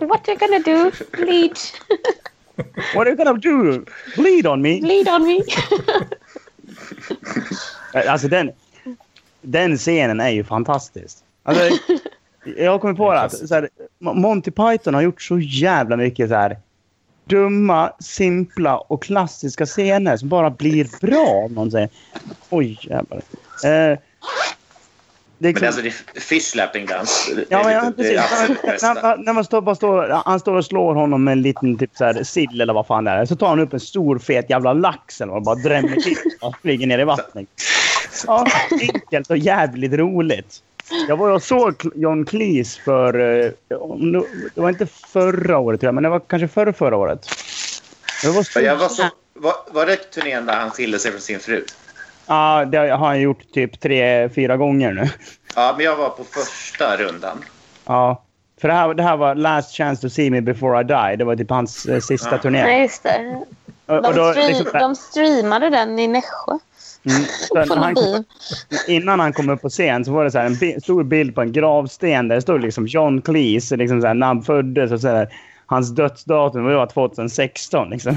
S3: What you gonna do? Bleed.
S5: What are you gonna do? Bleed on me?
S3: Bleed on me.
S5: Eh, Alltså den, den scenen är ju fantastisk. Alltså, jag kommer på
S1: Det är
S5: att
S1: klassiskt.
S5: så här, Mo- Monty Python har gjort så jävla mycket så här dumma, simpla och klassiska scener som bara blir bra om någon säger. Oj jävlar. Eh, det är
S4: Men
S5: liksom-
S4: alltså, det är fishlapping dance. Det är
S5: Ja, men, ja,
S4: lite- det är
S5: precis.
S4: absolut
S5: När,
S4: bästa.
S5: när, när man står, bara står, han står och slår honom med en liten typ så här, sill eller vad fan det är. Så tar han upp en stor fet jävla lax eller vad, bara drämmer till och flyger ner i vattnet. Ja, enkelt och jävligt roligt. Jag var och såg Cl- John Cleese för... eh, om det- Det var inte förra året, tror jag, men det var kanske förra, förra året. Det var så...
S4: Men jag var, så, var, var det turnén där han skilde sig från sin fru?
S5: Ja, det har han gjort typ tre, fyra gånger nu.
S4: Ja, men jag var på första rundan.
S5: Ja. För det här, det här var Last Chance to see me before I die. Det var typ hans eh, sista
S4: Ja.
S5: turné.
S3: Nej, just det.
S5: Och,
S3: De,
S5: och då,
S3: stream,
S5: liksom, så här-
S3: de streamade den i Nässjö.
S5: mm, så
S3: På
S5: när
S3: någon
S5: han
S3: bil.
S5: kom, innan han kom upp på scen så var det så här en bi stor bild på en gravsten där det stod liksom John Cleese, liksom så här, när han föddes och så här, hans dödsdatum det var 2016. Liksom.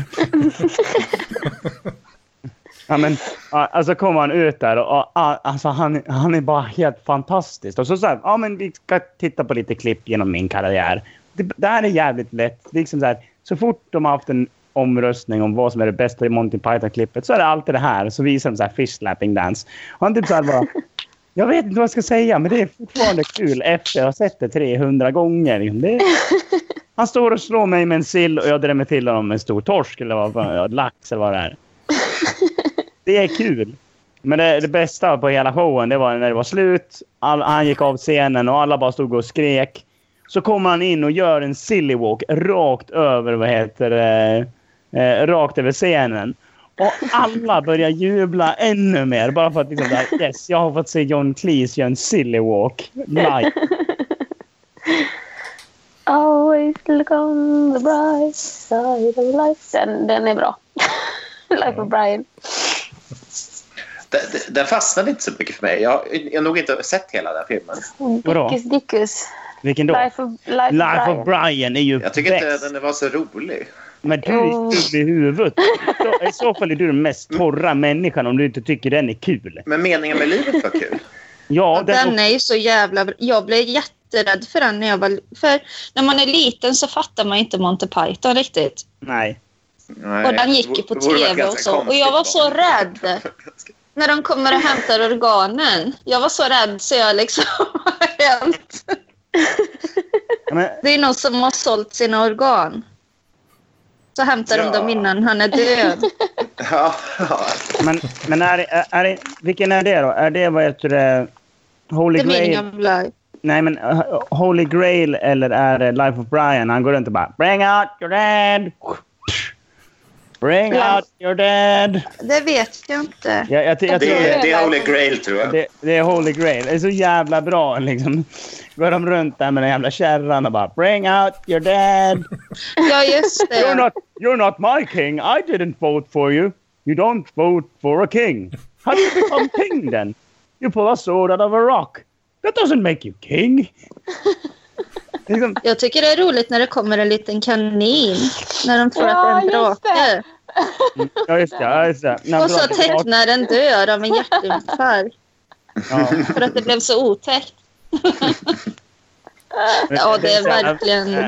S5: ja, men, ja, alltså kom han ut där och, och ja, alltså, han, han är bara helt fantastisk. Och så så här, ja men vi ska titta på lite klipp genom min karriär. Det, det här är jävligt lätt. Liksom så, här, så fort de har haft en omröstning om vad som är det bästa i Monty Python-klippet så är det alltid det här. Så visar de så här fish slapping dance. Och han typ så här bara... Jag vet inte vad jag ska säga, men det är fortfarande kul efter jag har sett det 300 gånger. liksom. Det han står och slår mig med en sill och jag drämmer till honom med en stor torsk eller vad, vad- lax eller vad det är. Det är kul. Men det, det bästa på hela showen det var när det var slut. All, han gick av scenen och alla bara stod och skrek. Så kommer han in och gör en silly walk rakt över, vad heter det, eh, rakt över scenen. Och alla börjar jubla ännu mer bara för att liksom, det här, yes, jag har fått se John Cleese göra en silly walk live.
S3: Always look on the bright side of life. Den, den är bra. life of Brian.
S4: Den- den- Den fastnade inte så mycket för mig. Jag har, jag har nog inte sett hela den här filmen.
S5: Vadå?
S3: Dickus Dickus.
S5: Vilken då?
S3: Life of, life
S5: Life
S3: of
S5: of
S3: Brian.
S5: Brian är ju
S4: Jag tycker
S5: bäst.
S4: inte den var så rolig.
S5: Men du är ju dum i huvudet. Så, I så fall är du den mest torra människan om du inte tycker den är kul.
S4: Men meningen med livet var kul.
S5: Ja, den,
S2: Den är ju så jävla bra. Jag blev jätterädd för den när jag var... För när man är liten så fattar man inte Monty Python riktigt.
S5: Nej.
S4: Nej,
S2: Och den gick ju på
S4: det vore varit
S2: tv och
S4: ganska
S2: så. Och jag var så rädd.
S4: konstigt.
S2: När de kommer och hämtar organen. Jag var så rädd så jag liksom... har hänt.
S5: Men,
S2: Det är någon som har sålt sina organ. Så hämtar
S4: Ja.
S2: de dem innan han är död.
S4: Ja, ja.
S5: men, men är, det- är, är, det- vilken är det då? Är det vad heter det? Holy
S2: The meaning
S5: Grail?
S2: of life.
S5: Nej, men uh, Holy Grail eller är det Life of Brian? Han går runt och bara Bring out your dead! Bring
S3: Ja.
S5: out your dead!
S2: Det vet jag inte.
S5: Jag, jag, jag,
S4: Det,
S5: jag, tror-
S4: är- det är Holy Grail, tror jag.
S5: Det, det är Holy Grail. Det är så jävla bra. Liksom. Går de runt där med den jävla kärran och bara Bring out your dad.
S2: Ja, just det.
S5: You're not, you're not my king. I didn't vote for you. You don't vote for a king. How do you become king then? You pull a sword out of a rock. That doesn't make you king. Liksom,
S2: Jag tycker det är roligt när det kommer en liten kanin. När de tror att det är
S3: Ja,
S2: en
S3: just det.
S2: drake.
S5: ja, just det. Ja, just det. När
S2: Och så
S5: draken-
S2: tecknaren dör av en hjärtinfarkt
S5: Ja.
S2: för att det blev så otäckt.
S3: Oh,
S2: Ja, det är verkligen...
S5: uh,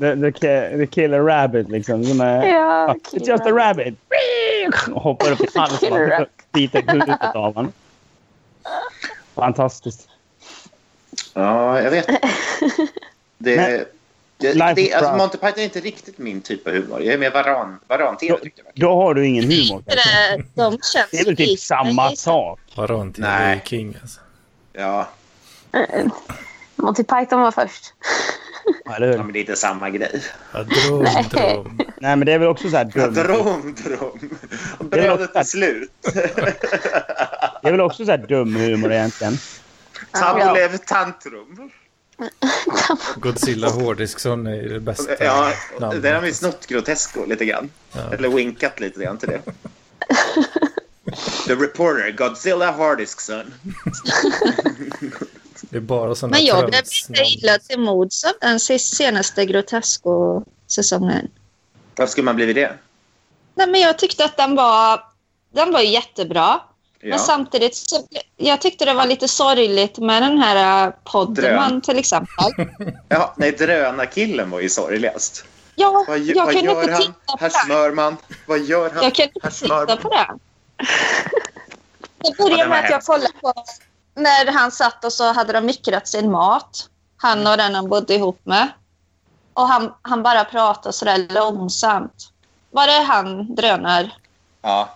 S5: The, the, ki- the killer rabbit liksom. Som är,
S3: Ja,
S5: It's just a rabbit. Och hoppar upp i halsen
S3: Killer
S5: och
S3: rabbit.
S5: biter huvudet av honom. Fantastiskt.
S4: Ja, jag vet. Det,
S5: Men- Life
S4: det,
S5: is
S4: det, alltså
S5: Brian.
S4: Monty Python är inte riktigt min typ av humor. Jag är mer varan, varan-tv, tyckte jag.
S5: Då har du ingen humor. kanske.
S2: De känns
S5: Det är väl typ
S2: lite-
S5: samma sak.
S1: Varan till
S4: Nej.
S1: King alltså.
S4: Ja,
S3: Monty Python var först.
S5: Eller
S4: ja,
S5: hur?
S4: men det är inte samma grej.
S1: Ja, drom, drom.
S5: Nej, men det är väl också så här
S4: Ja,
S5: dumt.
S4: Drom, drom. Och
S5: Det är väl
S4: Brödet
S5: ofta-
S4: är slut.
S5: Det är väl också så här dum humor egentligen.
S4: Tabulev tantrum.
S1: Godzilla Hårdisksson är ju det bästa
S4: Ja,
S1: namnet.
S4: där har vi snott Grotesco lite grann.
S1: Ja.
S4: Eller winkat lite grann till det. The Reporter, Godzilla Hardiskson.
S1: Det är bara sådana
S2: Men jag blev
S1: tramsnamn.
S2: lite illa till mods av den sist- senaste Grotesco-säsongen.
S4: Varför skulle man blivit det?
S2: Nej, men jag tyckte att den var, den var jättebra. Men
S4: Ja.
S2: samtidigt, så, jag tyckte det var lite sorgligt med den här eh, Podman
S4: Drön.
S2: till exempel.
S4: ja nej, Drönarkillen var ju sorgligast.
S2: Ja,
S4: Vad, gö-
S2: jag
S4: vad
S2: kunde
S4: gör
S2: inte
S4: han?
S2: titta på
S4: Herr
S2: den.
S4: Smörman. Vad gör han?
S2: Jag kunde
S4: Herr
S2: inte titta
S4: Smörman.
S2: på den. Det
S4: Ja,
S2: började
S4: den var
S2: med att jag
S4: hemsk.
S2: kollade på när han satt och så hade de mikrat sin mat.
S4: Mm.
S2: Han och den han bodde ihop med. Och han, han bara pratade sådär långsamt. Var det han drönar?
S4: Ja.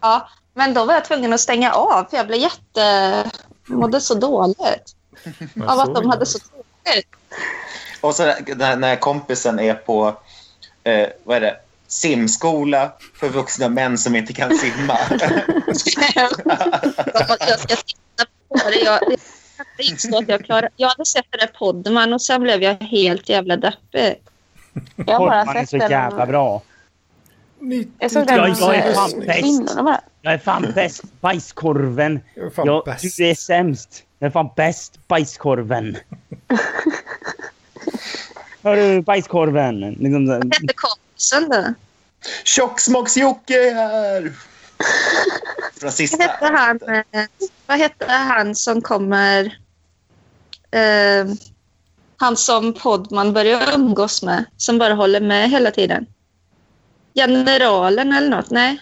S2: Ja, men då var jag tvungen att stänga av för jag blev jätte... mådde så dåligt
S1: Man
S2: av att
S1: såg
S2: de
S1: det.
S2: hade så
S4: Och så när, när kompisen är på eh, vad är det? simskola för vuxna män som inte kan simma.
S2: jag ska titta på det. Jag, jag kan inte instå att jag klarar... Jag hade sett den där Podman och sen blev jag helt jävla deppig.
S3: Jag har bara
S5: Korpman är
S3: sett
S5: så jävla
S3: den.
S5: bra.
S1: Ni-
S3: Jag såg
S1: ni-
S3: den
S5: Jag- jag är
S3: eh,
S5: fan bäst.
S3: kvinnorna bara.
S5: Jag är fan bäst. Bajskorven.
S1: Jag är fan
S5: Jag,
S1: bäst.
S5: du är sämst. Jag är fan bäst. Bajskorven. Hörru, bajskorven. Liksom, så här-
S2: Vad hette kompisen då?
S4: Tjocksmocks-Jocke är här! Från
S2: Vad
S4: sista.
S2: hette han, eh, vad hette han som kommer... Eh, han som Podman börjar umgås med, som bara håller med hela tiden. Generalen eller något? Nej.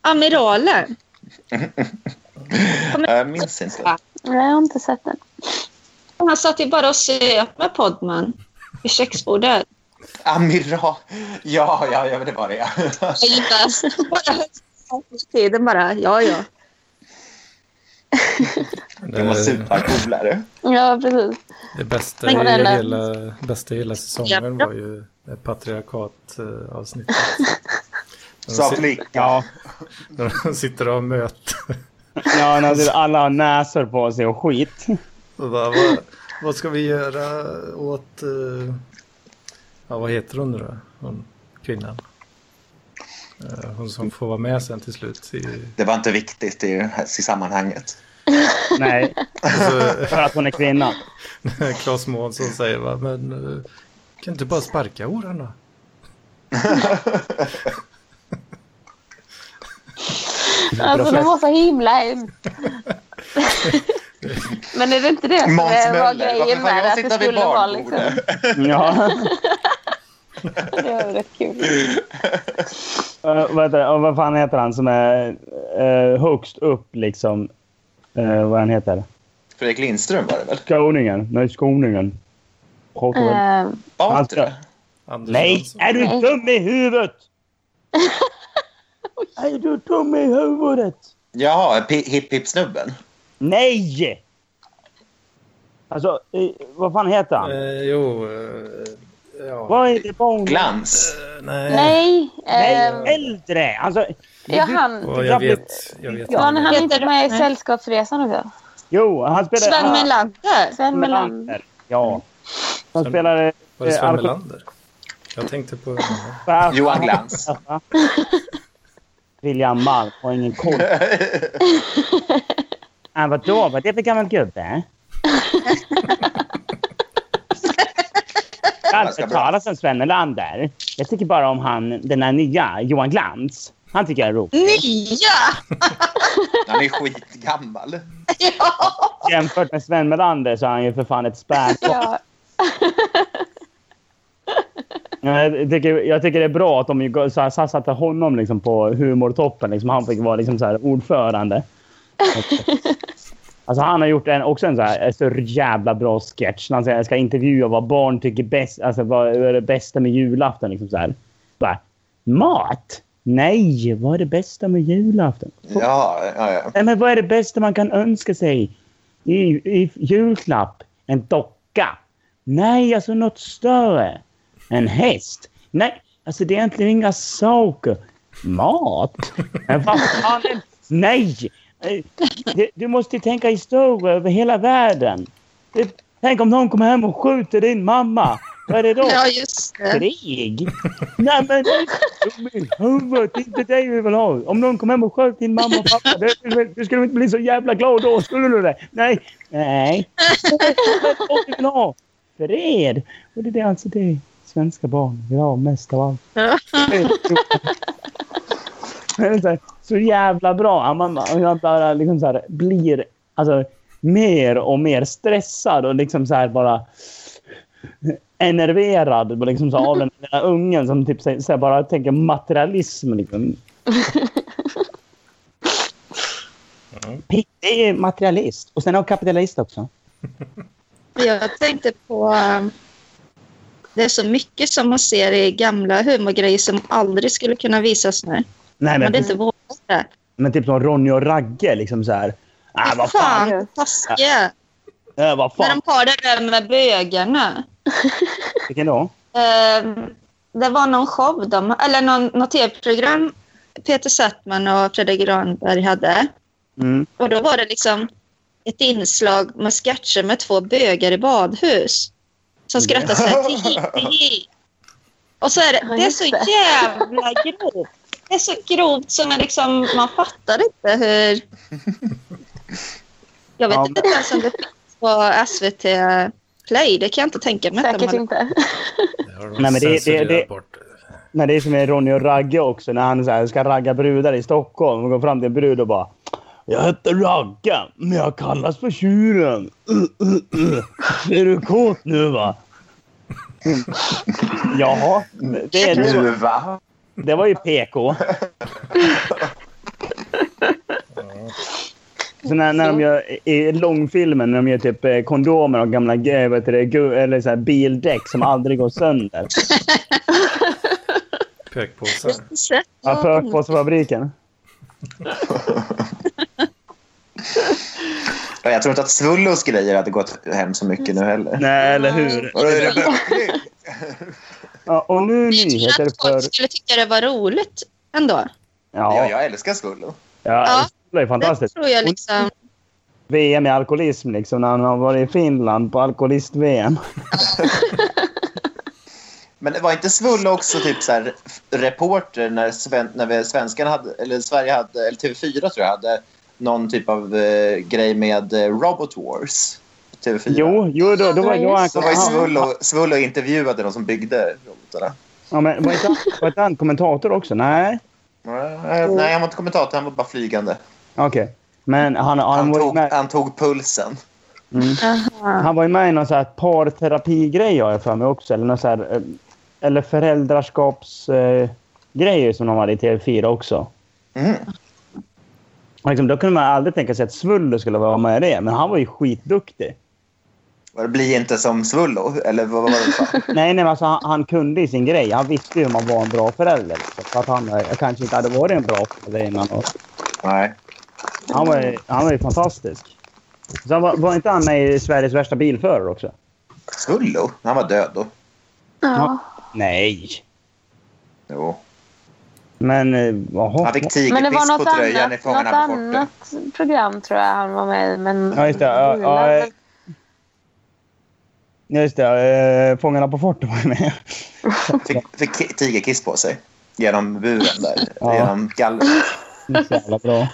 S2: Amiralen.
S4: Ja, Jag Eh, minns inte.
S3: Nej, jag har inte sett den.
S2: Han satt ju bara och söp med Podman vid köksbordet.
S4: Amiral. Ja, ja, ja, det var det. ja.
S2: Jag gillar bara tiden bara, ja, ja.
S4: Det var supercoolare.
S3: Ja, precis.
S1: Eh, Det bästa i
S3: Men den-
S1: hela, bästa i hela säsongen var ju eh, patriarkatavsnittet.
S4: Sa flickan.
S5: Ja,
S1: När de sitter och har möte.
S5: ja när alla har näsor på sig och skit.
S1: Och bara, vad, vad ska vi göra åt... eh, ja, vad heter hon nu då? Hon, kvinnan. Eh, hon som får vara med sen till slut. I,
S4: Det var inte viktigt i, det här- i sammanhanget.
S5: Nej,
S1: alltså,
S5: för att hon är kvinna.
S1: Claes Månsson säger va, men eh, kan du inte bara sparka horan då?
S3: Alltså, de var så himla hemskt. Men är det inte det som
S4: Måns
S3: är- var
S4: Möller, varför
S3: grejen
S4: får
S3: med det?
S4: jag
S3: Att det
S4: sitta vid
S3: skulle vara liksom...
S4: barnbordet?
S5: Ja.
S3: Det var rätt kul.
S5: Eh, vad, heter, och vad fan heter han som är eh, högst upp liksom? Eh, vad han heter?
S4: Fredrik Lindström var det väl?
S5: Skåningen. Nej, Skåningen. Pratar väl-
S3: Eh,
S5: Han
S4: Batra?
S5: ska-
S1: Anders
S5: Nej,
S1: Jansson.
S5: är du
S3: Nej.
S5: dum i huvudet? är du dum i huvudet?
S4: Jaha, Pi- Hipp Hipp-snubben.
S5: Nej! Alltså, eh, vad fan heter han?
S1: Eh, jo, eh, ja.
S5: vad är det barn?
S4: Glans.
S1: Eh, nej.
S3: nej.
S5: Nej,
S3: ehm,
S5: äldre! Alltså,
S3: ja, han.
S1: Och jag vet, jag vet
S3: Var han
S1: inte.
S3: inte med i Sällskapsresan också?
S5: jo, han spelar...
S2: Sven
S5: han-
S2: Melander.
S3: Sven Melander.
S5: Melander. Ja. Han
S1: Sven-
S5: spelar...
S1: Var det Sven
S5: Alko-
S1: Melander? Jag tänkte på...
S4: Johan Glans.
S5: William Malm har ingen koll. Ah, vadå? Vad är det för gammal gubbe? Jag har aldrig
S4: Ganska
S5: hört
S4: bra.
S5: talas om Sven Melander. Jag tycker bara om han, den här nya, Johan Glans. Han tycker jag är rolig.
S2: Nya!
S4: Han är skitgammal.
S2: Ja.
S5: Jämfört med Sven Melander så är han ju för fan ett spärr.
S3: Ja.
S5: Jag tycker, jag tycker det är bra att de ju så här, satsade honom liksom på humortoppen. Liksom, han fick vara liksom så här, ordförande. Alltså, han har gjort en, också en så, här, så jävla bra sketch. När han säger, jag ska intervjua vad barn tycker bäst, alltså, vad är det bästa med julafton. Liksom, så här. Bara, Mat? Nej, vad är det bästa med julafton?
S4: Ja, ja, ja.
S5: Nej, men vad är det bästa man kan önska sig i, i julklapp? En docka? Nej, alltså något större. En häst? Nej, alltså det är egentligen inga saker. Mat? Men vad fan är... Nej! Eh, det- Du måste ju tänka i större över hela världen. Det- Tänk om någon kommer hem och skjuter din mamma. Vad är det då?
S2: ja, just det.
S5: Krig? Nej men dum i huvudet, det är inte det vi vill ha. Om någon kom hem och sköt din mamma och pappa, det, det, du skulle inte bli så jävla glad då, skulle du det? Nej. Nej. Det är vad vi vill ha. Fred. Och det är alltså det svenska barn vill ha mest av allt. Det är så här, Så jävla bra. Man, man, jag bara liksom så här, blir alltså, mer och mer stressad och liksom så här bara enerverad liksom så av den där ungen som typ så så här, bara tänker materialism. Liksom. Pick, det är materialist. Och sen är hon kapitalist också.
S2: Jag tänkte på... um, Det är så mycket som man ser i gamla humorgrejer som aldrig skulle kunna visas nu.
S5: Nej,
S2: Man
S5: men,
S2: hade inte vågat det.
S5: men typ som Ronny och Ragge. Liksom så här. Ah, vad fan.
S2: Fan, taskiga.
S5: Äh, vad
S2: När
S5: fan.
S2: de har det där med bögarna.
S5: Vilken då?
S2: Ehm, det var någon show, de, eller någon, något tv-program Peter Settman och Fredrik Granberg hade.
S5: Mm.
S2: Och då var det liksom ett inslag med sketcher med två bögar i badhus. Som skrattar så här. "Tihi, tihi." Och så är det,
S3: Ja,
S2: det är
S3: just
S2: så
S3: det.
S2: jävla grovt. Det är så grovt som man liksom, man fattar inte hur... Jag vet
S5: Ja,
S2: inte ens om det finns på SVT Play. Det kan jag inte tänka mig. att de
S3: Säkert
S2: hade-
S3: inte.
S1: Det har de
S5: Nej, men det- det-
S1: censurerat
S5: det-
S1: bort.
S5: Nej, det är som med Ronny och Ragge också. När han så här, ska ragga brudar i Stockholm och går fram till en brud och bara Jag heter Ragge, men jag kallas för Tjuren. Uh, uh, uh. Är du kåt nu va? Jaha, det är du.
S4: Nu va?
S5: Det var ju PK. Så när, när de gör, i långfilmen, när de gör typ eh, kondomer och gamla eh, vad heter det, gu, eller så här, bildäck som aldrig går sönder.
S1: Pökpåsar.
S5: Ja, Pökpåsefabriken.
S4: Ja, Jag tror inte att Svullos grejer hade gått hem så mycket nu heller.
S5: Nej, eller hur?
S4: Och då är det-
S5: Ja, och nu nyheter
S2: att
S5: för...
S2: folk skulle tycka det var roligt ändå.
S4: Ja,
S5: Ja,
S4: jag älskar Svullo.
S5: ja, det är fantastiskt.
S2: Det tror jag liksom.
S5: VM i alkoholism, liksom, när han har varit i Finland på alkoholist-VM.
S4: Men det var inte Svullo också typ så här, f- reporter när, sven, när vi, svenskarna hade, eller Sverige hade, eller TV4 tror jag hade någon typ av eh, grej med eh, Robot Wars. på TV4.
S5: Jo, jo då, då var jag...
S4: Så var ju Svullo, Svullo intervjuade de som byggde robotarna.
S5: Ja, men var inte han, var inte han kommentator också? Nej.
S4: Nej, Eh, Nej, han var inte kommentator, han var bara flygande.
S5: Okej. Men han, han,
S4: Han
S5: var ju
S4: tog,
S5: med,
S4: han tog pulsen.
S5: han var ju med i någon så här parterapigrej har jag för mig också. Eller, någon så här, eh, eller föräldraskapsgrejer eh, som de hade i TV4 också.
S4: Mm.
S5: Och Liksom, då kunde man aldrig tänka sig att Svullo skulle vara med i det. Men han var ju skitduktig.
S4: Var det bli inte som Svullo? Eller vad var det? för-
S5: Nej, nej, men alltså, han, han kunde ju sin grej. Han visste ju hur man var en bra förälder. Liksom. För att han eh, kanske inte hade varit en bra förälder innan. Och
S4: Nej.
S5: han, var ju, han var ju fantastisk. Sen var, var inte han med i Sveriges värsta bilförare också?
S4: Svullo? Han var död då.
S3: Ja.
S5: Nej.
S4: Jo.
S5: Men eh, jaha.
S4: Han fick
S3: Men det var
S4: tigerpiss på
S3: något
S4: tröjan i
S3: annat, något
S4: Fångarna på fortet.
S3: annat program tror jag han var med i. Men...
S5: Ja, just det. Ja, ja, eh, ja, just det. Eh, Fångarna på fortet var ju med.
S4: Fick, fick ki- tigerkiss på sig. Genom buren där.
S5: Ja.
S4: Genom gallret.
S5: Det är Så jävla bra.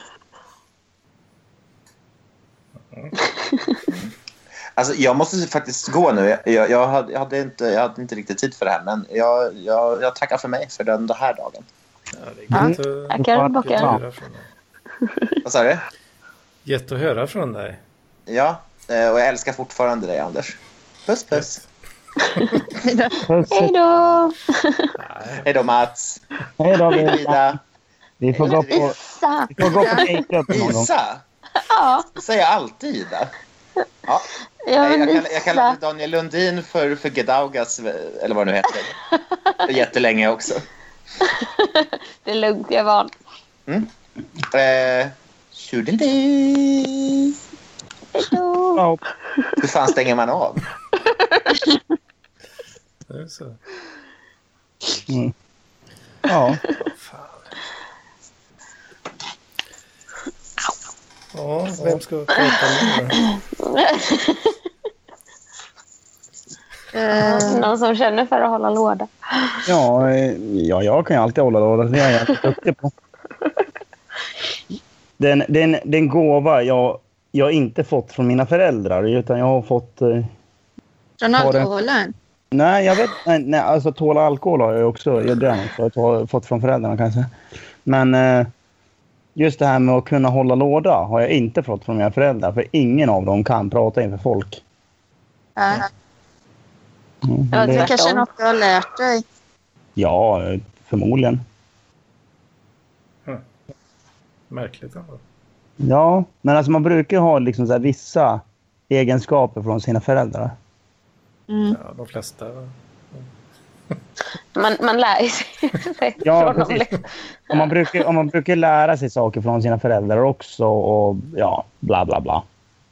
S4: Alltså, jag måste faktiskt gå nu. Jag, jag, jag, hade, jag, hade inte, jag hade inte riktigt tid för det här. Men jag, jag, jag tackar för mig för den, den här dagen.
S1: Ja, det är gött, att,
S3: Tackar och
S1: gött, att
S3: bockar.
S1: höra från dig.
S4: Vad sa du?
S1: gött att höra från dig.
S4: Ja. eh, Och jag älskar fortfarande dig, Anders. Puss, puss.
S5: Puss.
S3: Hej då!
S4: Hej då, Mats.
S5: Hej då.
S4: Hej,
S5: Vi,
S4: Ida.
S5: vi får gå på,
S3: Issa!
S5: vi får gå på makeup någon gång.
S4: Isa.
S3: Ja,
S4: Säger jag alltid Ida. Ja,
S3: jag
S4: jag,
S3: vill
S4: kall, jag kallade
S3: Issa.
S4: Daniel Lundin för, för Gedaugas, eh, eller vad det nu heter. Jättelänge också.
S3: Det är lugnt, jag är van.
S4: Eh, tjodelej.
S3: Hej då!
S5: Ja,
S4: Hur fan stänger man av?
S1: Det är så.
S5: Ja.
S1: Ja, vem ska prata med nu?
S2: eh,
S3: Någon som känner för att hålla låda.
S5: Ja, eh, ja, jag kan ju alltid hålla låda. Det är jag jävligt duktig på. Den, den, den gåva jag, jag inte fått från mina föräldrar, utan jag har fått... eh,
S2: Från
S5: Har det.
S2: alkoholen.
S5: Nej, jag vet nej, nej, alltså tåla alkohol har jag också. Jag det har jag fått- har fått från föräldrarna kanske. Men eh, just det här med att kunna hålla låda har jag inte fått från mina föräldrar. För ingen av dem kan prata inför folk.
S2: Ja.
S5: Mm,
S3: Ja,
S2: Det
S5: det,
S3: tack.
S2: kanske är något du har lärt dig.
S5: ja eh, förmodligen.
S1: Märkligt ändå.
S5: Ja, men alltså man brukar ju ha liksom så här vissa egenskaper från sina föräldrar.
S2: Mm.
S1: Ja, de flesta. va?
S3: Man, man lär ju sig
S5: Ja,
S3: från dem.
S5: precis.
S3: liksom.
S5: Och man, brukar, och man brukar lära sig saker från sina föräldrar också och ja, bla bla bla.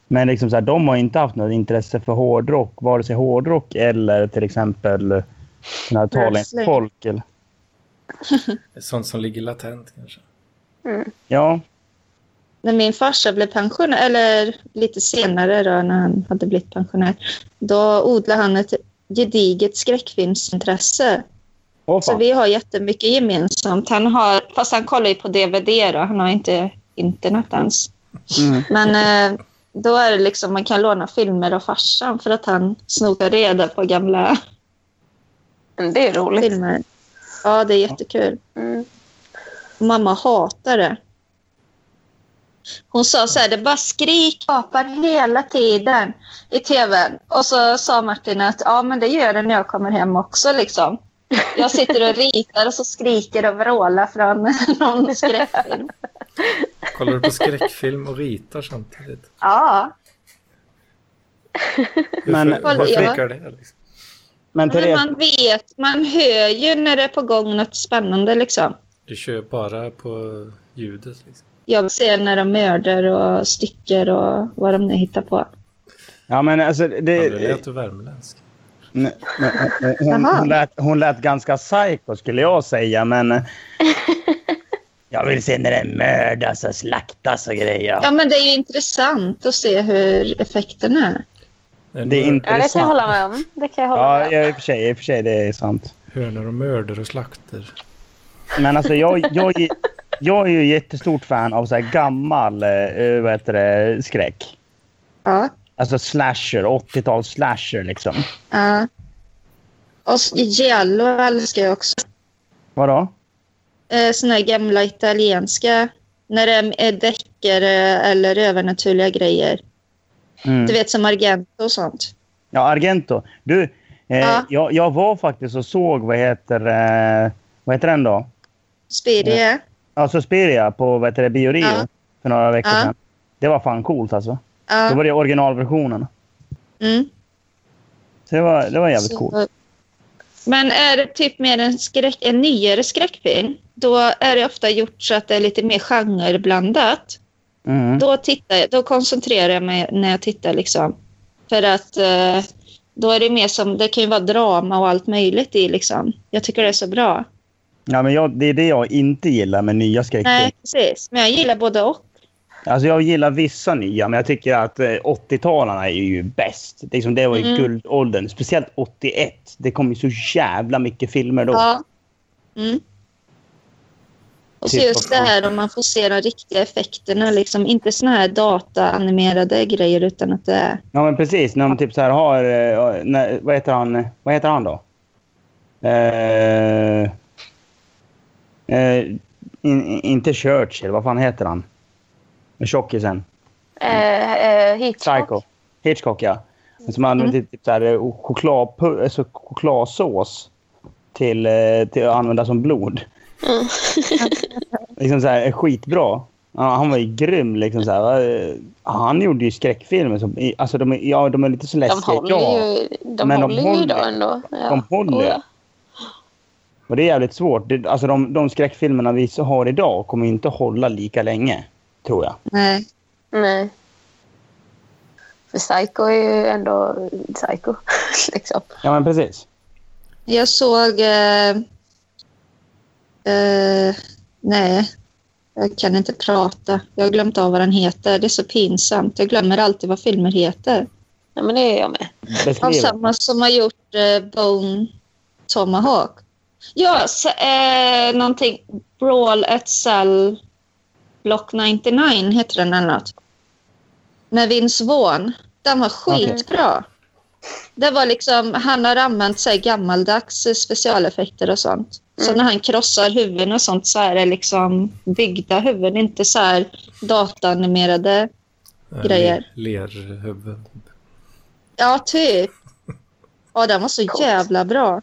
S5: Men liksom så här, de har inte haft något intresse för hårdrock, vare sig hårdrock eller till exempel såna här tala inför
S2: Wrestling.
S5: folk. Eller,
S1: Det är Sånt som ligger latent kanske.
S5: ja,
S2: När min farsa blev pensionär, eller lite senare då när han hade blivit pensionär, då odlade han ett gediget skräckfilmsintresse.
S5: och
S2: Så
S5: fan.
S2: vi har jättemycket gemensamt. Han har, fast han kollar ju på DVD då, han har inte internet ens.
S5: Mm.
S2: Men eh, då är det liksom, man kan låna filmer av farsan för att han snokar reda på gamla
S3: Men Det är roligt.
S2: filmer. Ja, det är jättekul.
S3: Mm.
S2: Och mamma hatar det. Hon sa så här, det bara skrik apar hela tiden i tvn. Och så sa Martin att ja, men det gör det när jag kommer hem också liksom. Jag sitter och ritar och så skriker och vrålar från någon skräckfilm.
S1: Kollar du på skräckfilm och ritar samtidigt?
S2: Ja,
S1: Hur,
S5: Men-
S1: hur, hur funkar det? Liksom?
S5: Men
S2: men
S5: Therese,
S2: man vet, man hör ju när det är på gång något spännande liksom.
S1: Du kör bara på ljudet. Liksom.
S2: Jag ser när de mördar och stycker och vad de nu hittar på.
S5: ja, men alltså, det,
S1: Ja, du lät du värmländsk.
S5: Nej, nej, nej, Hon,
S2: Jaha.
S5: hon, lät, hon lät ganska psycho skulle jag säga, men... eh, Jag vill se när det mördas och slaktas och grejer.
S2: Ja, men det är ju intressant att se hur effekten är.
S1: Nej,
S5: Det är inte
S3: Ja, det kan jag
S5: sant.
S3: hålla med om. Det kan jag hålla
S5: Ja,
S3: med om.
S5: ja, i och för sig, i och för sig, det är sant.
S1: Hönor och mörder och slakter.
S5: Men alltså jag, jag, jag är ju jättestort fan av så här gammal, eh, vad heter det, skräck.
S2: Ja.
S5: Alltså slasher, 80-tals slasher liksom.
S2: ja. Och s- giallo älskar jag också.
S5: Vadå?
S2: Eh, Såna här gamla italienska. När det är deckare eller övernaturliga grejer.
S5: Mm.
S2: Du vet som Argento och sånt.
S5: Ja, Argento. Du, eh,
S2: Ja.
S5: jag, jag var faktiskt och såg, vad heter, eh, vad heter den då?
S2: Spirie.
S5: Ja, Alltså, Suspiria på vad heter det, Bio Rio
S2: Ja.
S5: för några veckor
S2: Ja.
S5: sedan. Det var fan coolt alltså. Då
S2: Ja.
S5: var det originalversionen.
S2: Mm.
S5: Så det var, det var jävligt
S2: Så-
S5: coolt.
S2: Men är det typ mer en, skräck, en nyare skräckfilm, då är det ofta gjort så att det är lite mer genreblandat.
S5: Mm.
S2: Då, tittar jag, då koncentrerar jag mig när jag tittar. Liksom. För att eh, då är det mer som, det kan ju vara drama och allt möjligt i. Liksom. Jag tycker det är så bra.
S5: Ja, men jag, det är det jag inte gillar med nya skräckfilmer.
S2: Nej, precis. Men jag gillar både och.
S5: Alltså jag gillar vissa nya, men jag tycker att eh, 80-talarna är ju bäst. Det, är liksom, det var ju
S2: Mm.
S5: guldåldern. Speciellt 81. Det kom ju så jävla mycket filmer då.
S2: Ja. Mm. Och så
S5: Typ
S2: just
S5: av-
S2: det här om man får se de riktiga effekterna. Liksom. Inte såna här dataanimerade grejer utan att det är...
S5: Ja, men precis. När de typ så här har... eh, när, vad, heter han, vad heter han då? Eh, eh, in, in- inte Churchill. Vad fan heter han? Tjockisen.
S3: Eh, eh, Hitchcock.
S5: Psycho. Hitchcock, ja.
S3: Mm.
S5: Som använder typ- typ så här, eh, chokladpu- alltså chokladsås till, eh, till att använda som blod.
S3: Mm.
S5: liksom så här, skitbra. Ja, han var ju grym. Liksom så här. Eh, Han gjorde ju skräckfilmer. Som, i- alltså, de, är, ja, de är lite så läskiga.
S3: De håller
S5: ja.
S3: ju, de
S5: Men de
S3: håller ju
S5: håller.
S3: idag ändå. Ja.
S5: De håller.
S3: Oh, ja.
S5: Och det är jävligt svårt. Det, alltså de, de skräckfilmerna vi så har idag kommer inte hålla lika länge, tror jag.
S2: Nej.
S3: Nej. För Psycho är ju ändå Psycho. liksom.
S5: Ja, men precis.
S2: Jag såg... Eh, eh, nej, jag kan inte prata. Jag har glömt av vad den heter. Det är så pinsamt. Jag glömmer alltid vad filmer heter.
S3: Ja, men det är jag med.
S2: Av
S5: Beskriv.
S2: samma som har gjort eh, Bone Tomahawk. Ja, så, eh, någonting. Brawl at Cell Block 99 heter den eller något. Med Vince Vaughn. Den var
S5: Okej.
S2: skitbra. Det var liksom, han har använt sig gammaldags eh, specialeffekter och sånt. Så när han krossar huvuden och sånt så är det liksom byggda huvuden, inte så här dataanimerade. Grejer.
S1: Le- Lerhuvud.
S2: Ja, typ. Ja, den var så
S3: Coolt.
S2: jävla bra.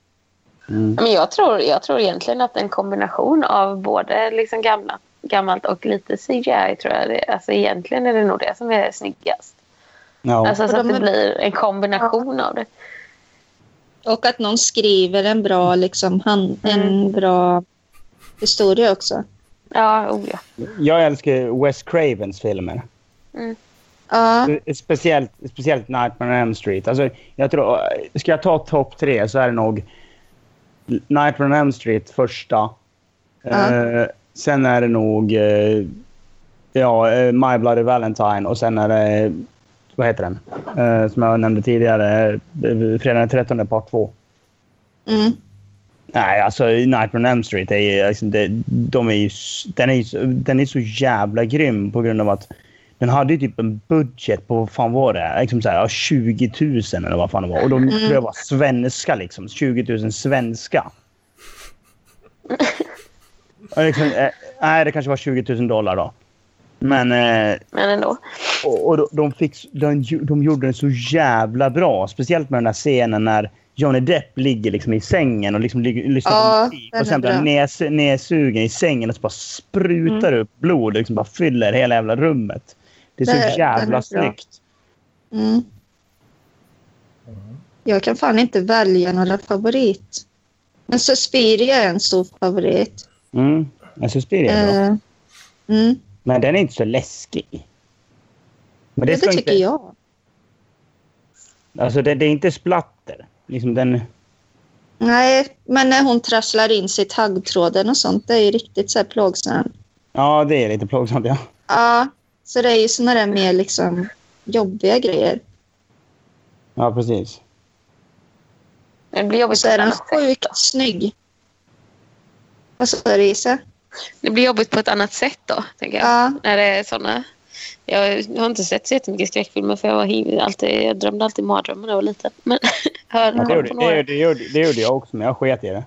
S5: Mm.
S3: Men jag tror, jag tror egentligen att en kombination av både liksom gamla, gammalt och lite CGI tror jag. Det, alltså egentligen är det nog det som är snyggast.
S5: Ja.
S3: Alltså så
S2: Och
S3: att
S2: de
S3: det
S2: är-
S3: blir en kombination av det.
S2: Och att någon skriver en bra, liksom, han,
S5: Mm.
S2: en bra historia också.
S3: Ja, oh ja.
S5: Jag älskar ju Wes Cravens filmer.
S2: Ja,
S5: Alltså, Speciellt, speciellt Nightmare on Elm Street. Alltså, jag tror, ska jag ta topp tre så är det nog Nightmare on Elm Street första.
S2: Ja.
S5: Eh, sen är det nog eh, ja, eh, My Bloody Valentine och sen är det, vad heter den? Eh, som jag nämnde tidigare, eh, Fredag den 13 part 2.
S2: mm,
S5: Nej, alltså Nightmare on Elm Street, är ju, liksom, det, de är ju, s- den, är ju, så- den är så jävla grym på grund av att den hade ju typ en budget på vad fan var det? Liksom så här, ja, 20 000 eller vad fan det var. Och de tror jag var svenska liksom. 20 000 svenska. Och liksom, eh, nej, det kanske var 20 000 dollar då. Men eh,
S3: Men ändå.
S5: och, och de, de, fick, de, de gjorde den så jävla bra. Speciellt med den där scenen när Johnny Depp ligger liksom i sängen och liksom ligger, lyssnar
S2: Ja,
S5: på musik.
S2: den
S5: Och
S2: är
S5: sen blir han
S2: bra. Mm.
S5: nes, nedsugen i sängen och så bara sprutar upp blod och liksom bara fyller hela jävla rummet. Det är så
S2: Det- den är
S5: jävla
S2: bra.
S5: snyggt.
S2: Mm. Jag kan fan inte välja några favorit. Men Suspiria är en stor favorit.
S5: Mm. Men Suspiria är bra.
S2: Eh, mm.
S5: Men den är inte så läskig. Men
S2: Det,
S5: det, ska
S2: tycker
S5: inte,
S2: jag.
S5: Alltså det, det är inte splatter. Liksom den...
S2: Nej, men när hon trasslar in sig i taggtråden och sånt, det är ju riktigt så här plågsamt.
S5: Ja, det är lite plågsamt. Ja.
S2: Ja, så det är ju såna där mer liksom jobbiga grejer.
S5: ja, precis.
S3: Det blir jobbigt
S2: Och så
S3: på
S2: är
S3: ett
S2: den
S3: annat sätt.
S2: sjukt snygg. Vad sa du, Isa?
S3: Det blir jobbigt på ett annat sätt då, tänker jag.
S2: Ja,
S3: När det är såna. Jag har inte sett så jättemycket skräckfilmer för jag, var hiv, alltid, jag drömde alltid mardrömmar när jag var liten. Men hör,
S5: Ja, det,
S3: kom
S5: gjorde,
S3: på
S5: det,
S3: några.
S5: gjorde, det, gjorde, det gjorde jag också, men jag sket i det.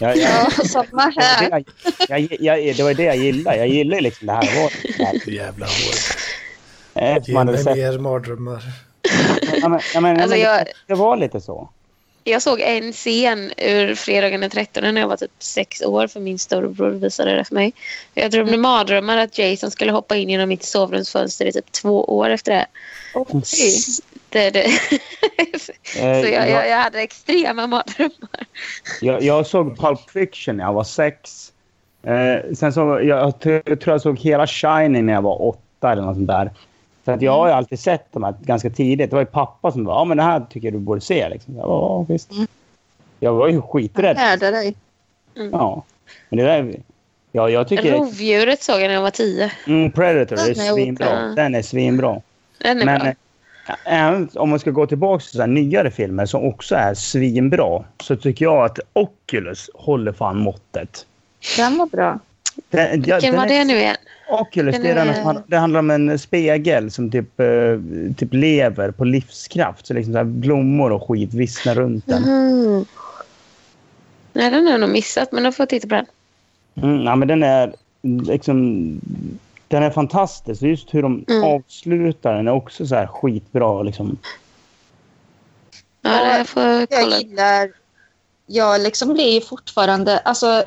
S5: Jag, jag,
S2: ja samma här.
S5: jag, jag, jag, det var ju det jag gillade. Jag gillade ju liksom det här våldet.
S1: Jävla hår.
S5: Eftersom
S1: Ge
S5: man hade
S1: mig
S5: sett...
S1: mer mardrömmar.
S5: Ja, men, ja, men, ja,
S3: Alltså,
S5: men
S3: jag-
S5: det, det var lite så.
S3: Jag såg en scen ur Fredagen den 13 när jag var typ sex år för min storebror visade det för mig. Jag drömde mardrömmar att Jason skulle hoppa in genom mitt sovrumsfönster i typ två år efter det.
S2: Oj.
S3: det, det. så
S5: Eh,
S3: jag, jag,
S5: jag,
S3: jag hade extrema mardrömmar.
S5: jag, jag såg Pulp Fiction när jag var sex. Eh, sen så, jag, jag tror jag såg hela Shining när jag var åtta eller något sånt där. För att jag har ju
S3: Mm.
S5: alltid sett de här ganska tidigt. Det var ju pappa som bara, ja men det här tycker jag du borde se. Liksom. Jag bara, ja visst.
S3: Mm.
S5: Jag var ju skiträdd.
S2: Härda dig.
S5: Ja. Men det där... Ja, jag tycker...
S3: Rovdjuret såg jag när jag var tio.
S5: Mm, Predator är
S2: Den är
S5: svinbra.
S3: otäck.
S5: Den är svinbra.
S3: Den är
S5: Men
S3: bra.
S5: eh, även om man ska gå tillbaka till så här nyare filmer som också är svinbra så tycker jag att Oculus håller fan måttet.
S2: Den var bra.
S5: Den, ja,
S3: Vilken
S5: den
S3: var
S5: är-
S3: det nu igen?
S5: Oculus,
S3: Den
S5: det, är den
S3: är-
S5: som, han- det handlar om en spegel som typ, eh, typ lever på livskraft. Så liksom så här blommor och skit vissnar runt den.
S3: Mhm. Nej, den har jag nog missat, men då får jag titta på den.
S5: Mm, ja, men den är liksom... Den är fantastisk. Just hur de
S3: Mm.
S5: avslutar den är också så här skitbra. Liksom.
S3: Ja, jag får kolla.
S2: Jag gillar... Jag liksom blir ju fortfarande... Alltså,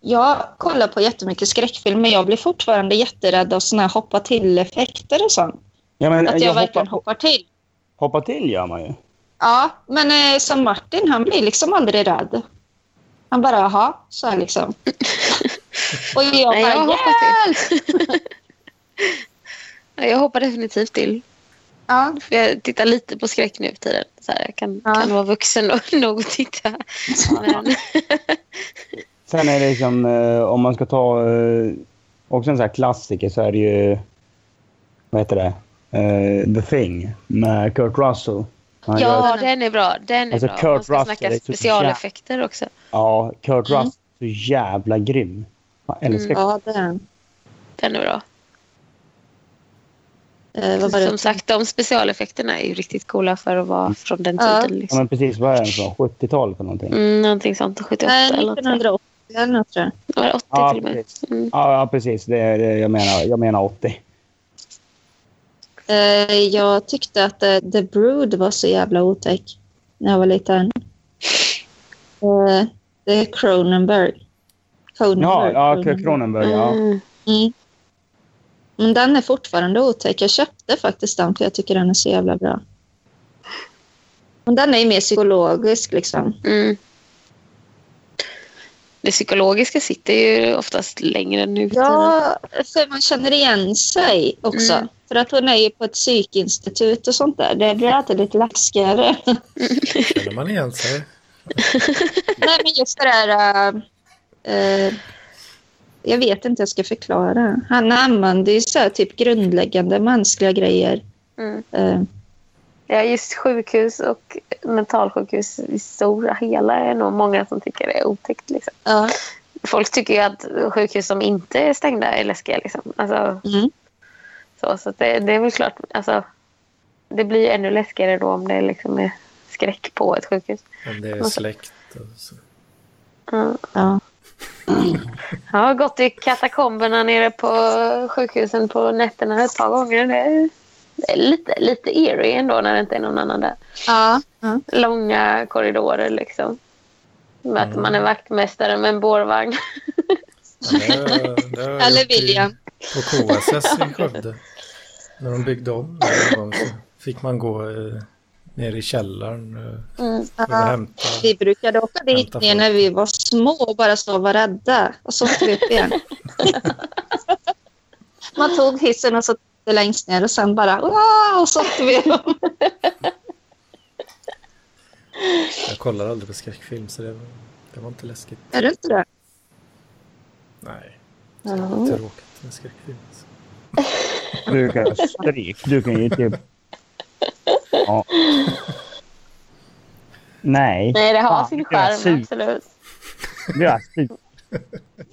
S2: jag kollar på jättemycket skräckfilm, men jag blir fortfarande jätterädd av såna här hoppa till-effekter och sånt.
S5: Ja, men,
S2: Att jag, verkligen
S5: hoppar,
S2: hoppar till.
S5: hoppar till gör man ju.
S2: Ja, men eh, som Martin, han blir liksom aldrig rädd. Han bara, jaha, så här liksom. Och jag bara,
S3: Nej, jag hoppar
S2: hjälp!
S3: Ja, Jag hoppar definitivt till.
S2: Ja,
S3: För Jag tittar lite på skräck nu för tiden. Så här, jag kan,
S2: Ja.
S3: kan vara vuxen och nog och titta. Men,
S5: Sen är det liksom, eh, om man ska ta eh, också en sån här klassiker så är det ju, vad heter det, eh, The Thing med Kurt Russell. Han gör-
S3: ja, den är bra. Den är
S5: Alltså,
S3: bra.
S5: Kurt
S3: Man ska
S5: Russell
S3: snacka
S5: är så
S3: specialeffekter också.
S5: ja, Kurt
S2: Mm.
S5: Russell är så jävla grym. Jag
S3: Mm.
S5: älskar
S2: ja det är han.
S3: Den är bra.
S2: Eh, vad var det?
S3: Som sagt, de specialeffekterna är ju riktigt coola för att vara från den
S2: Ja.
S3: tiden.
S5: Ja,
S3: Liksom.
S5: men precis, vad är den från? 70-talet eller någonting?
S3: Mm, någonting sånt. 78
S2: Nej,
S3: eller något. sånt.
S2: 1980 Eh, eller något tror jag.
S3: Det var 80
S5: Ja,
S3: till och med.
S5: precis.
S3: Mm.
S5: Ja, ja, precis. Det är, det jag, menar, jag menar 80.
S2: Eh, Jag tyckte att eh, The Brood var så jävla otäck när jag var liten. Eh, Det är Cronenberg.
S5: Ja,
S2: Cronenberg.
S5: ja Kurt Cronenberg. Ja.
S3: Mm.
S2: Mm. Men den är fortfarande otäck. Jag köpte faktiskt den för jag tycker den är så jävla bra. Men den är ju mer psykologisk liksom.
S3: Mm. Det psykologiska sitter ju oftast längre nu.
S2: Ja, för man känner igen sig också.
S3: Mm.
S2: För att hon är ju på ett psykinstitut och sånt där. Det blir alltid lite läskigare.
S1: Känner man igen sig?
S2: Nej, men just det där... eh, eh, jag vet inte hur jag ska förklara. Han använder ju så här, typ grundläggande mänskliga grejer.
S3: Mm.
S2: Eh,
S3: Ja, just sjukhus och mentalsjukhus i stora hela är nog många som tycker det är otäckt. Liksom.
S2: ja.
S3: Folk tycker ju att sjukhus som inte är stängda är läskiga. Liksom. Alltså,
S2: Mm.
S3: så så att det, det är väl klart. Alltså, det blir ju ännu läskigare då om det liksom är skräck på ett sjukhus.
S1: Om det är släkt och så.
S3: Mm.
S2: ja.
S3: Jag har gått i katakomberna nere på sjukhusen på nätterna ett par gånger. Det är Det är lite, lite eerie ändå när det inte är någon annan där.
S2: Ja.
S3: Långa korridorer liksom. Möter man en vaktmästare med en bårvagn.
S1: Ja, det har- det har jag
S2: Eller
S1: gjort i-
S2: William.
S1: På KSS i Skövde. När de byggde om där en gång så fick man gå eh, ner i källaren eh,
S3: Mm.
S1: för
S2: Ah,
S1: att hämta.
S2: Vi brukade åka dit
S1: Hämta
S2: ner
S1: folk.
S2: när vi var små och bara så var rädda. Och så åkte vi upp igen. Man tog hissen och så tittade längst ner och sen bara "Wow!" och så åkte vi upp.
S1: Jag kollar aldrig på skräckfilm så det, var- det var inte läskigt.
S2: Är det inte det?
S1: Nej,
S3: Mm.
S1: tråkigt med skräckfilm. alltså.
S5: Du kan ju stryk. Du kan ju typ... Ja. Nej.
S3: Nej, det har
S5: Fan,
S3: sin
S5: det är
S3: charm
S5: surt.
S3: absolut.
S5: Du är sjuk.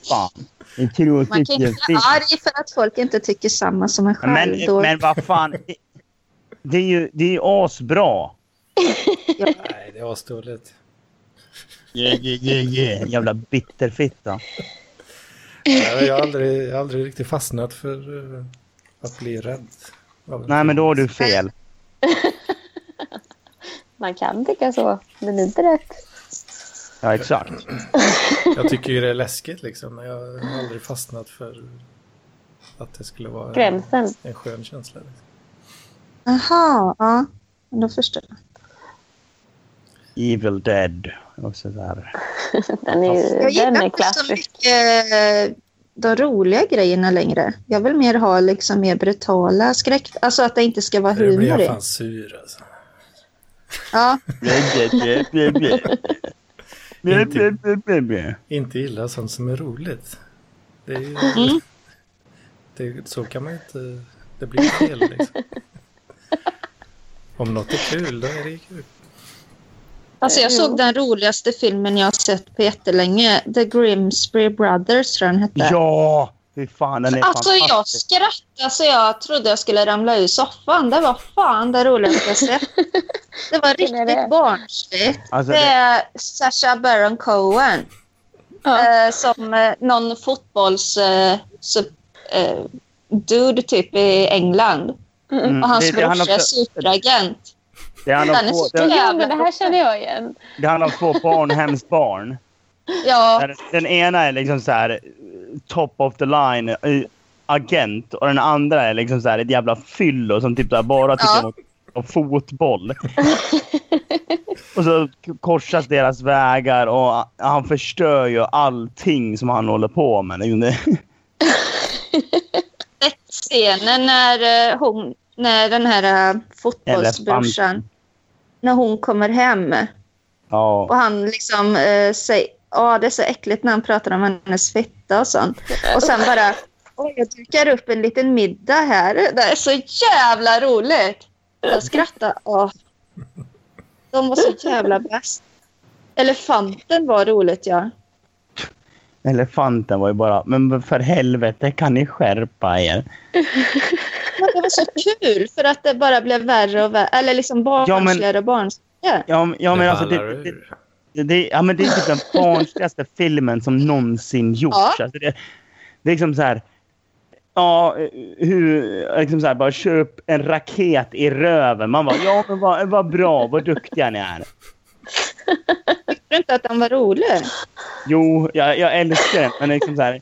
S5: Fan. Ni tror
S2: Man kan
S5: inte
S2: ju
S5: en
S2: inte bli
S5: film.
S2: arg för att folk inte tycker samma som en själv.
S5: Men,
S2: Då-
S5: men vad fan. Det, det är ju det är ju asbra.
S1: Nej, det var asdåligt.
S5: Yeah, yeah, yeah, yeah. Jävla bitterfitta.
S1: Nej, Jag har aldrig, jag har aldrig riktigt fastnat för eh, att bli rädd. av en
S5: Nej,
S1: film.
S5: men då har du fel.
S3: Man kan tycka så, men det är inte rätt.
S5: Ja, exakt.
S1: Jag tycker ju det är läskigt liksom, men jag har aldrig fastnat för att det skulle vara en,
S3: Gränsen.
S1: en skön känsla. Liksom.
S2: Jaha, ja. Men Då förstår jag.
S5: Evil Dead. Och sådär.
S3: Den är,
S2: Jag
S3: ju, den
S2: gillar inte
S3: är
S2: så
S3: klassisk.
S2: mycket eh, de roliga grejerna längre. Jag vill mer ha liksom mer brutala skräck. Alltså att det inte ska vara
S1: Nu blir
S2: humor
S1: jag
S2: i.
S1: fan sur alltså.
S2: Ja,
S1: Inte gilla sånt som är roligt. Det är ju...
S3: Mm.
S1: Det, så kan man ju inte... Det blir fel liksom. Om något är kul, då är det ju kul.
S2: Alltså jag såg den roligaste filmen jag har sett på jättelänge. The Grimsby Brothers tror jag den hette.
S5: Ja! Fy fan, den är
S2: alltså jag
S5: fantastisk.
S2: skrattade så jag trodde jag skulle ramla ur soffan. Det var fan det roligaste jag sett. Det var
S3: Vilken är
S2: riktigt
S3: det?
S2: barnsligt.
S5: Alltså,
S2: Det
S5: det,
S2: är Sacha Baron Cohen. Eh, som eh, någon fotbolls... Eh, sub, eh, dude typ i England.
S5: mm,
S2: Och hans
S5: det, det handlar
S2: brorsa är
S5: också-
S2: superagent.
S5: det handlar
S2: Han
S5: om
S2: är
S5: två-
S2: så
S5: det-
S3: Ja,
S2: jävla...
S3: men det här känner jag igen.
S5: det handlar om två barnhemsbarn.
S2: Ja,
S5: Där Den ena är liksom så här eh, top of the line eh, agent och den andra är liksom så här ett jävla fyllo som typ så här bara tycker
S2: Ja.
S5: om, om fotboll. och så k- korsas deras vägar och a- han förstör ju allting som han håller på med. Det är ju det-
S2: scenen när eh, hon... När den här eh, fotbollsbrorsan...
S5: Elefanten.
S2: När hon kommer hem och
S5: Ja.
S2: han liksom eh, säger... Ja, det är så äckligt när han pratar om hennes fitta och sånt. Och sen bara... Oj, jag dukar upp en liten middag här. Det är så jävla roligt. Jag skrattar. Åh. De var så jävla bäst. Elefanten var roligt, ja.
S5: Elefanten var ju bara, men för helvete kan ni skärpa er?
S2: Men det var så kul för att det bara blev värre och värre. Eller liksom barnsligare och barnsligare.
S5: Ja, men- ja, men
S1: Det
S5: alltså,
S1: ballar
S5: det, det,
S1: ur.
S5: Det, ja, men det är typ den barnsligaste filmen som någonsin gjorts.
S2: Ja.
S5: Alltså det, det är liksom så här... Ja, eh, hur... Liksom så här, bara köp en raket i röven. Man bara, ja men vad, vad bra, vad duktiga ni är.
S2: Tyckte du inte att den var rolig?
S5: Jo, jag, jag älskar den, men liksom så här...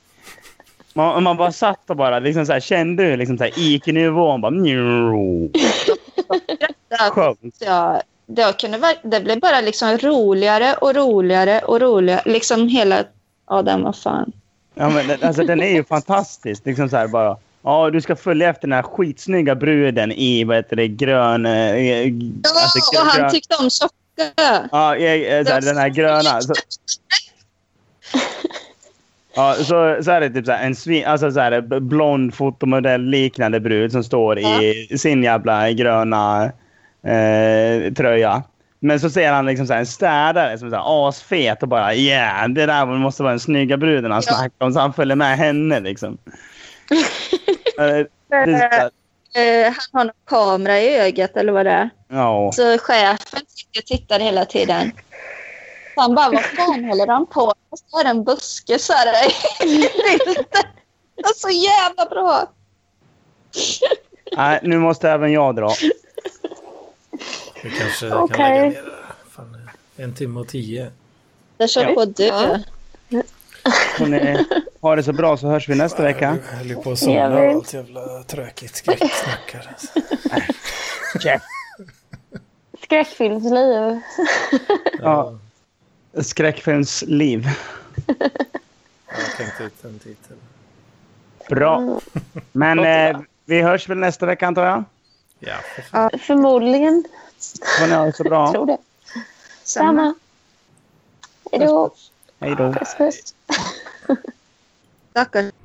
S5: Man, man bara satt och bara liksom så här, kände hur liksom så här IQ-nivån bara... Njo,
S2: Där
S5: sjönk.
S2: Ja, det, kunde, verk- det blev bara liksom roligare och roligare och roligare. Liksom hela... Ja, den var fan.
S5: Ja, men, den- alltså, den är ju fantastisk. Liksom så här bara, ja, du ska följa efter den här skitsnygga bruden i vad heter det, grön... eh, eh, alltså,
S2: Ja, och han
S5: grön-
S2: tyckte om tjocka. Alltså,
S5: Ja, jag, eh, så här, den här gröna. Så, ja, så, så är det typ så här, en svin, alltså så här, b- blond fotomodell-liknande brud som står i sin jävla gröna eh, tröja. Men så ser han liksom så här, en städare som är så här, asfet och bara yeah, det där måste vara den snygga bruden han
S2: Ja.
S5: snackar om. Så han följer med henne liksom. Eh, det är så här,
S2: Eh, han har någon kamera i ögat eller vad det är.
S5: Ja,
S2: Så chefen sitter och tittar hela tiden. Så han bara, vad fan håller han på med? Och Så är det en buske så här. Det är så jävla bra.
S5: Nej, nu måste även jag dra.
S1: Vi kanske kan
S3: Okej.
S1: lägga ner det. Fan, en timme och tio.
S2: Där kör
S5: Ja.
S2: på du.
S5: Så ni har det så bra så hörs vi nästa vecka.
S1: Jag höll ju på att
S3: Ja,
S1: somna
S3: vi-
S1: av allt jävla tråkigt skräcksnack här. alltså.
S3: Skräckfilmsliv.
S5: Ja. Skräckfilmsliv.
S1: Jag tänkte ut en titel.
S5: Bra. Men eh, vi hörs väl nästa vecka antar jag?
S1: Ja, för fan.
S3: Ja, förmodligen.
S5: Får ni ha det så bra.
S3: Tror det.
S2: Samma.
S3: Samma. Hej då.
S5: Hej då.
S3: Puss, puss.
S2: Tackar.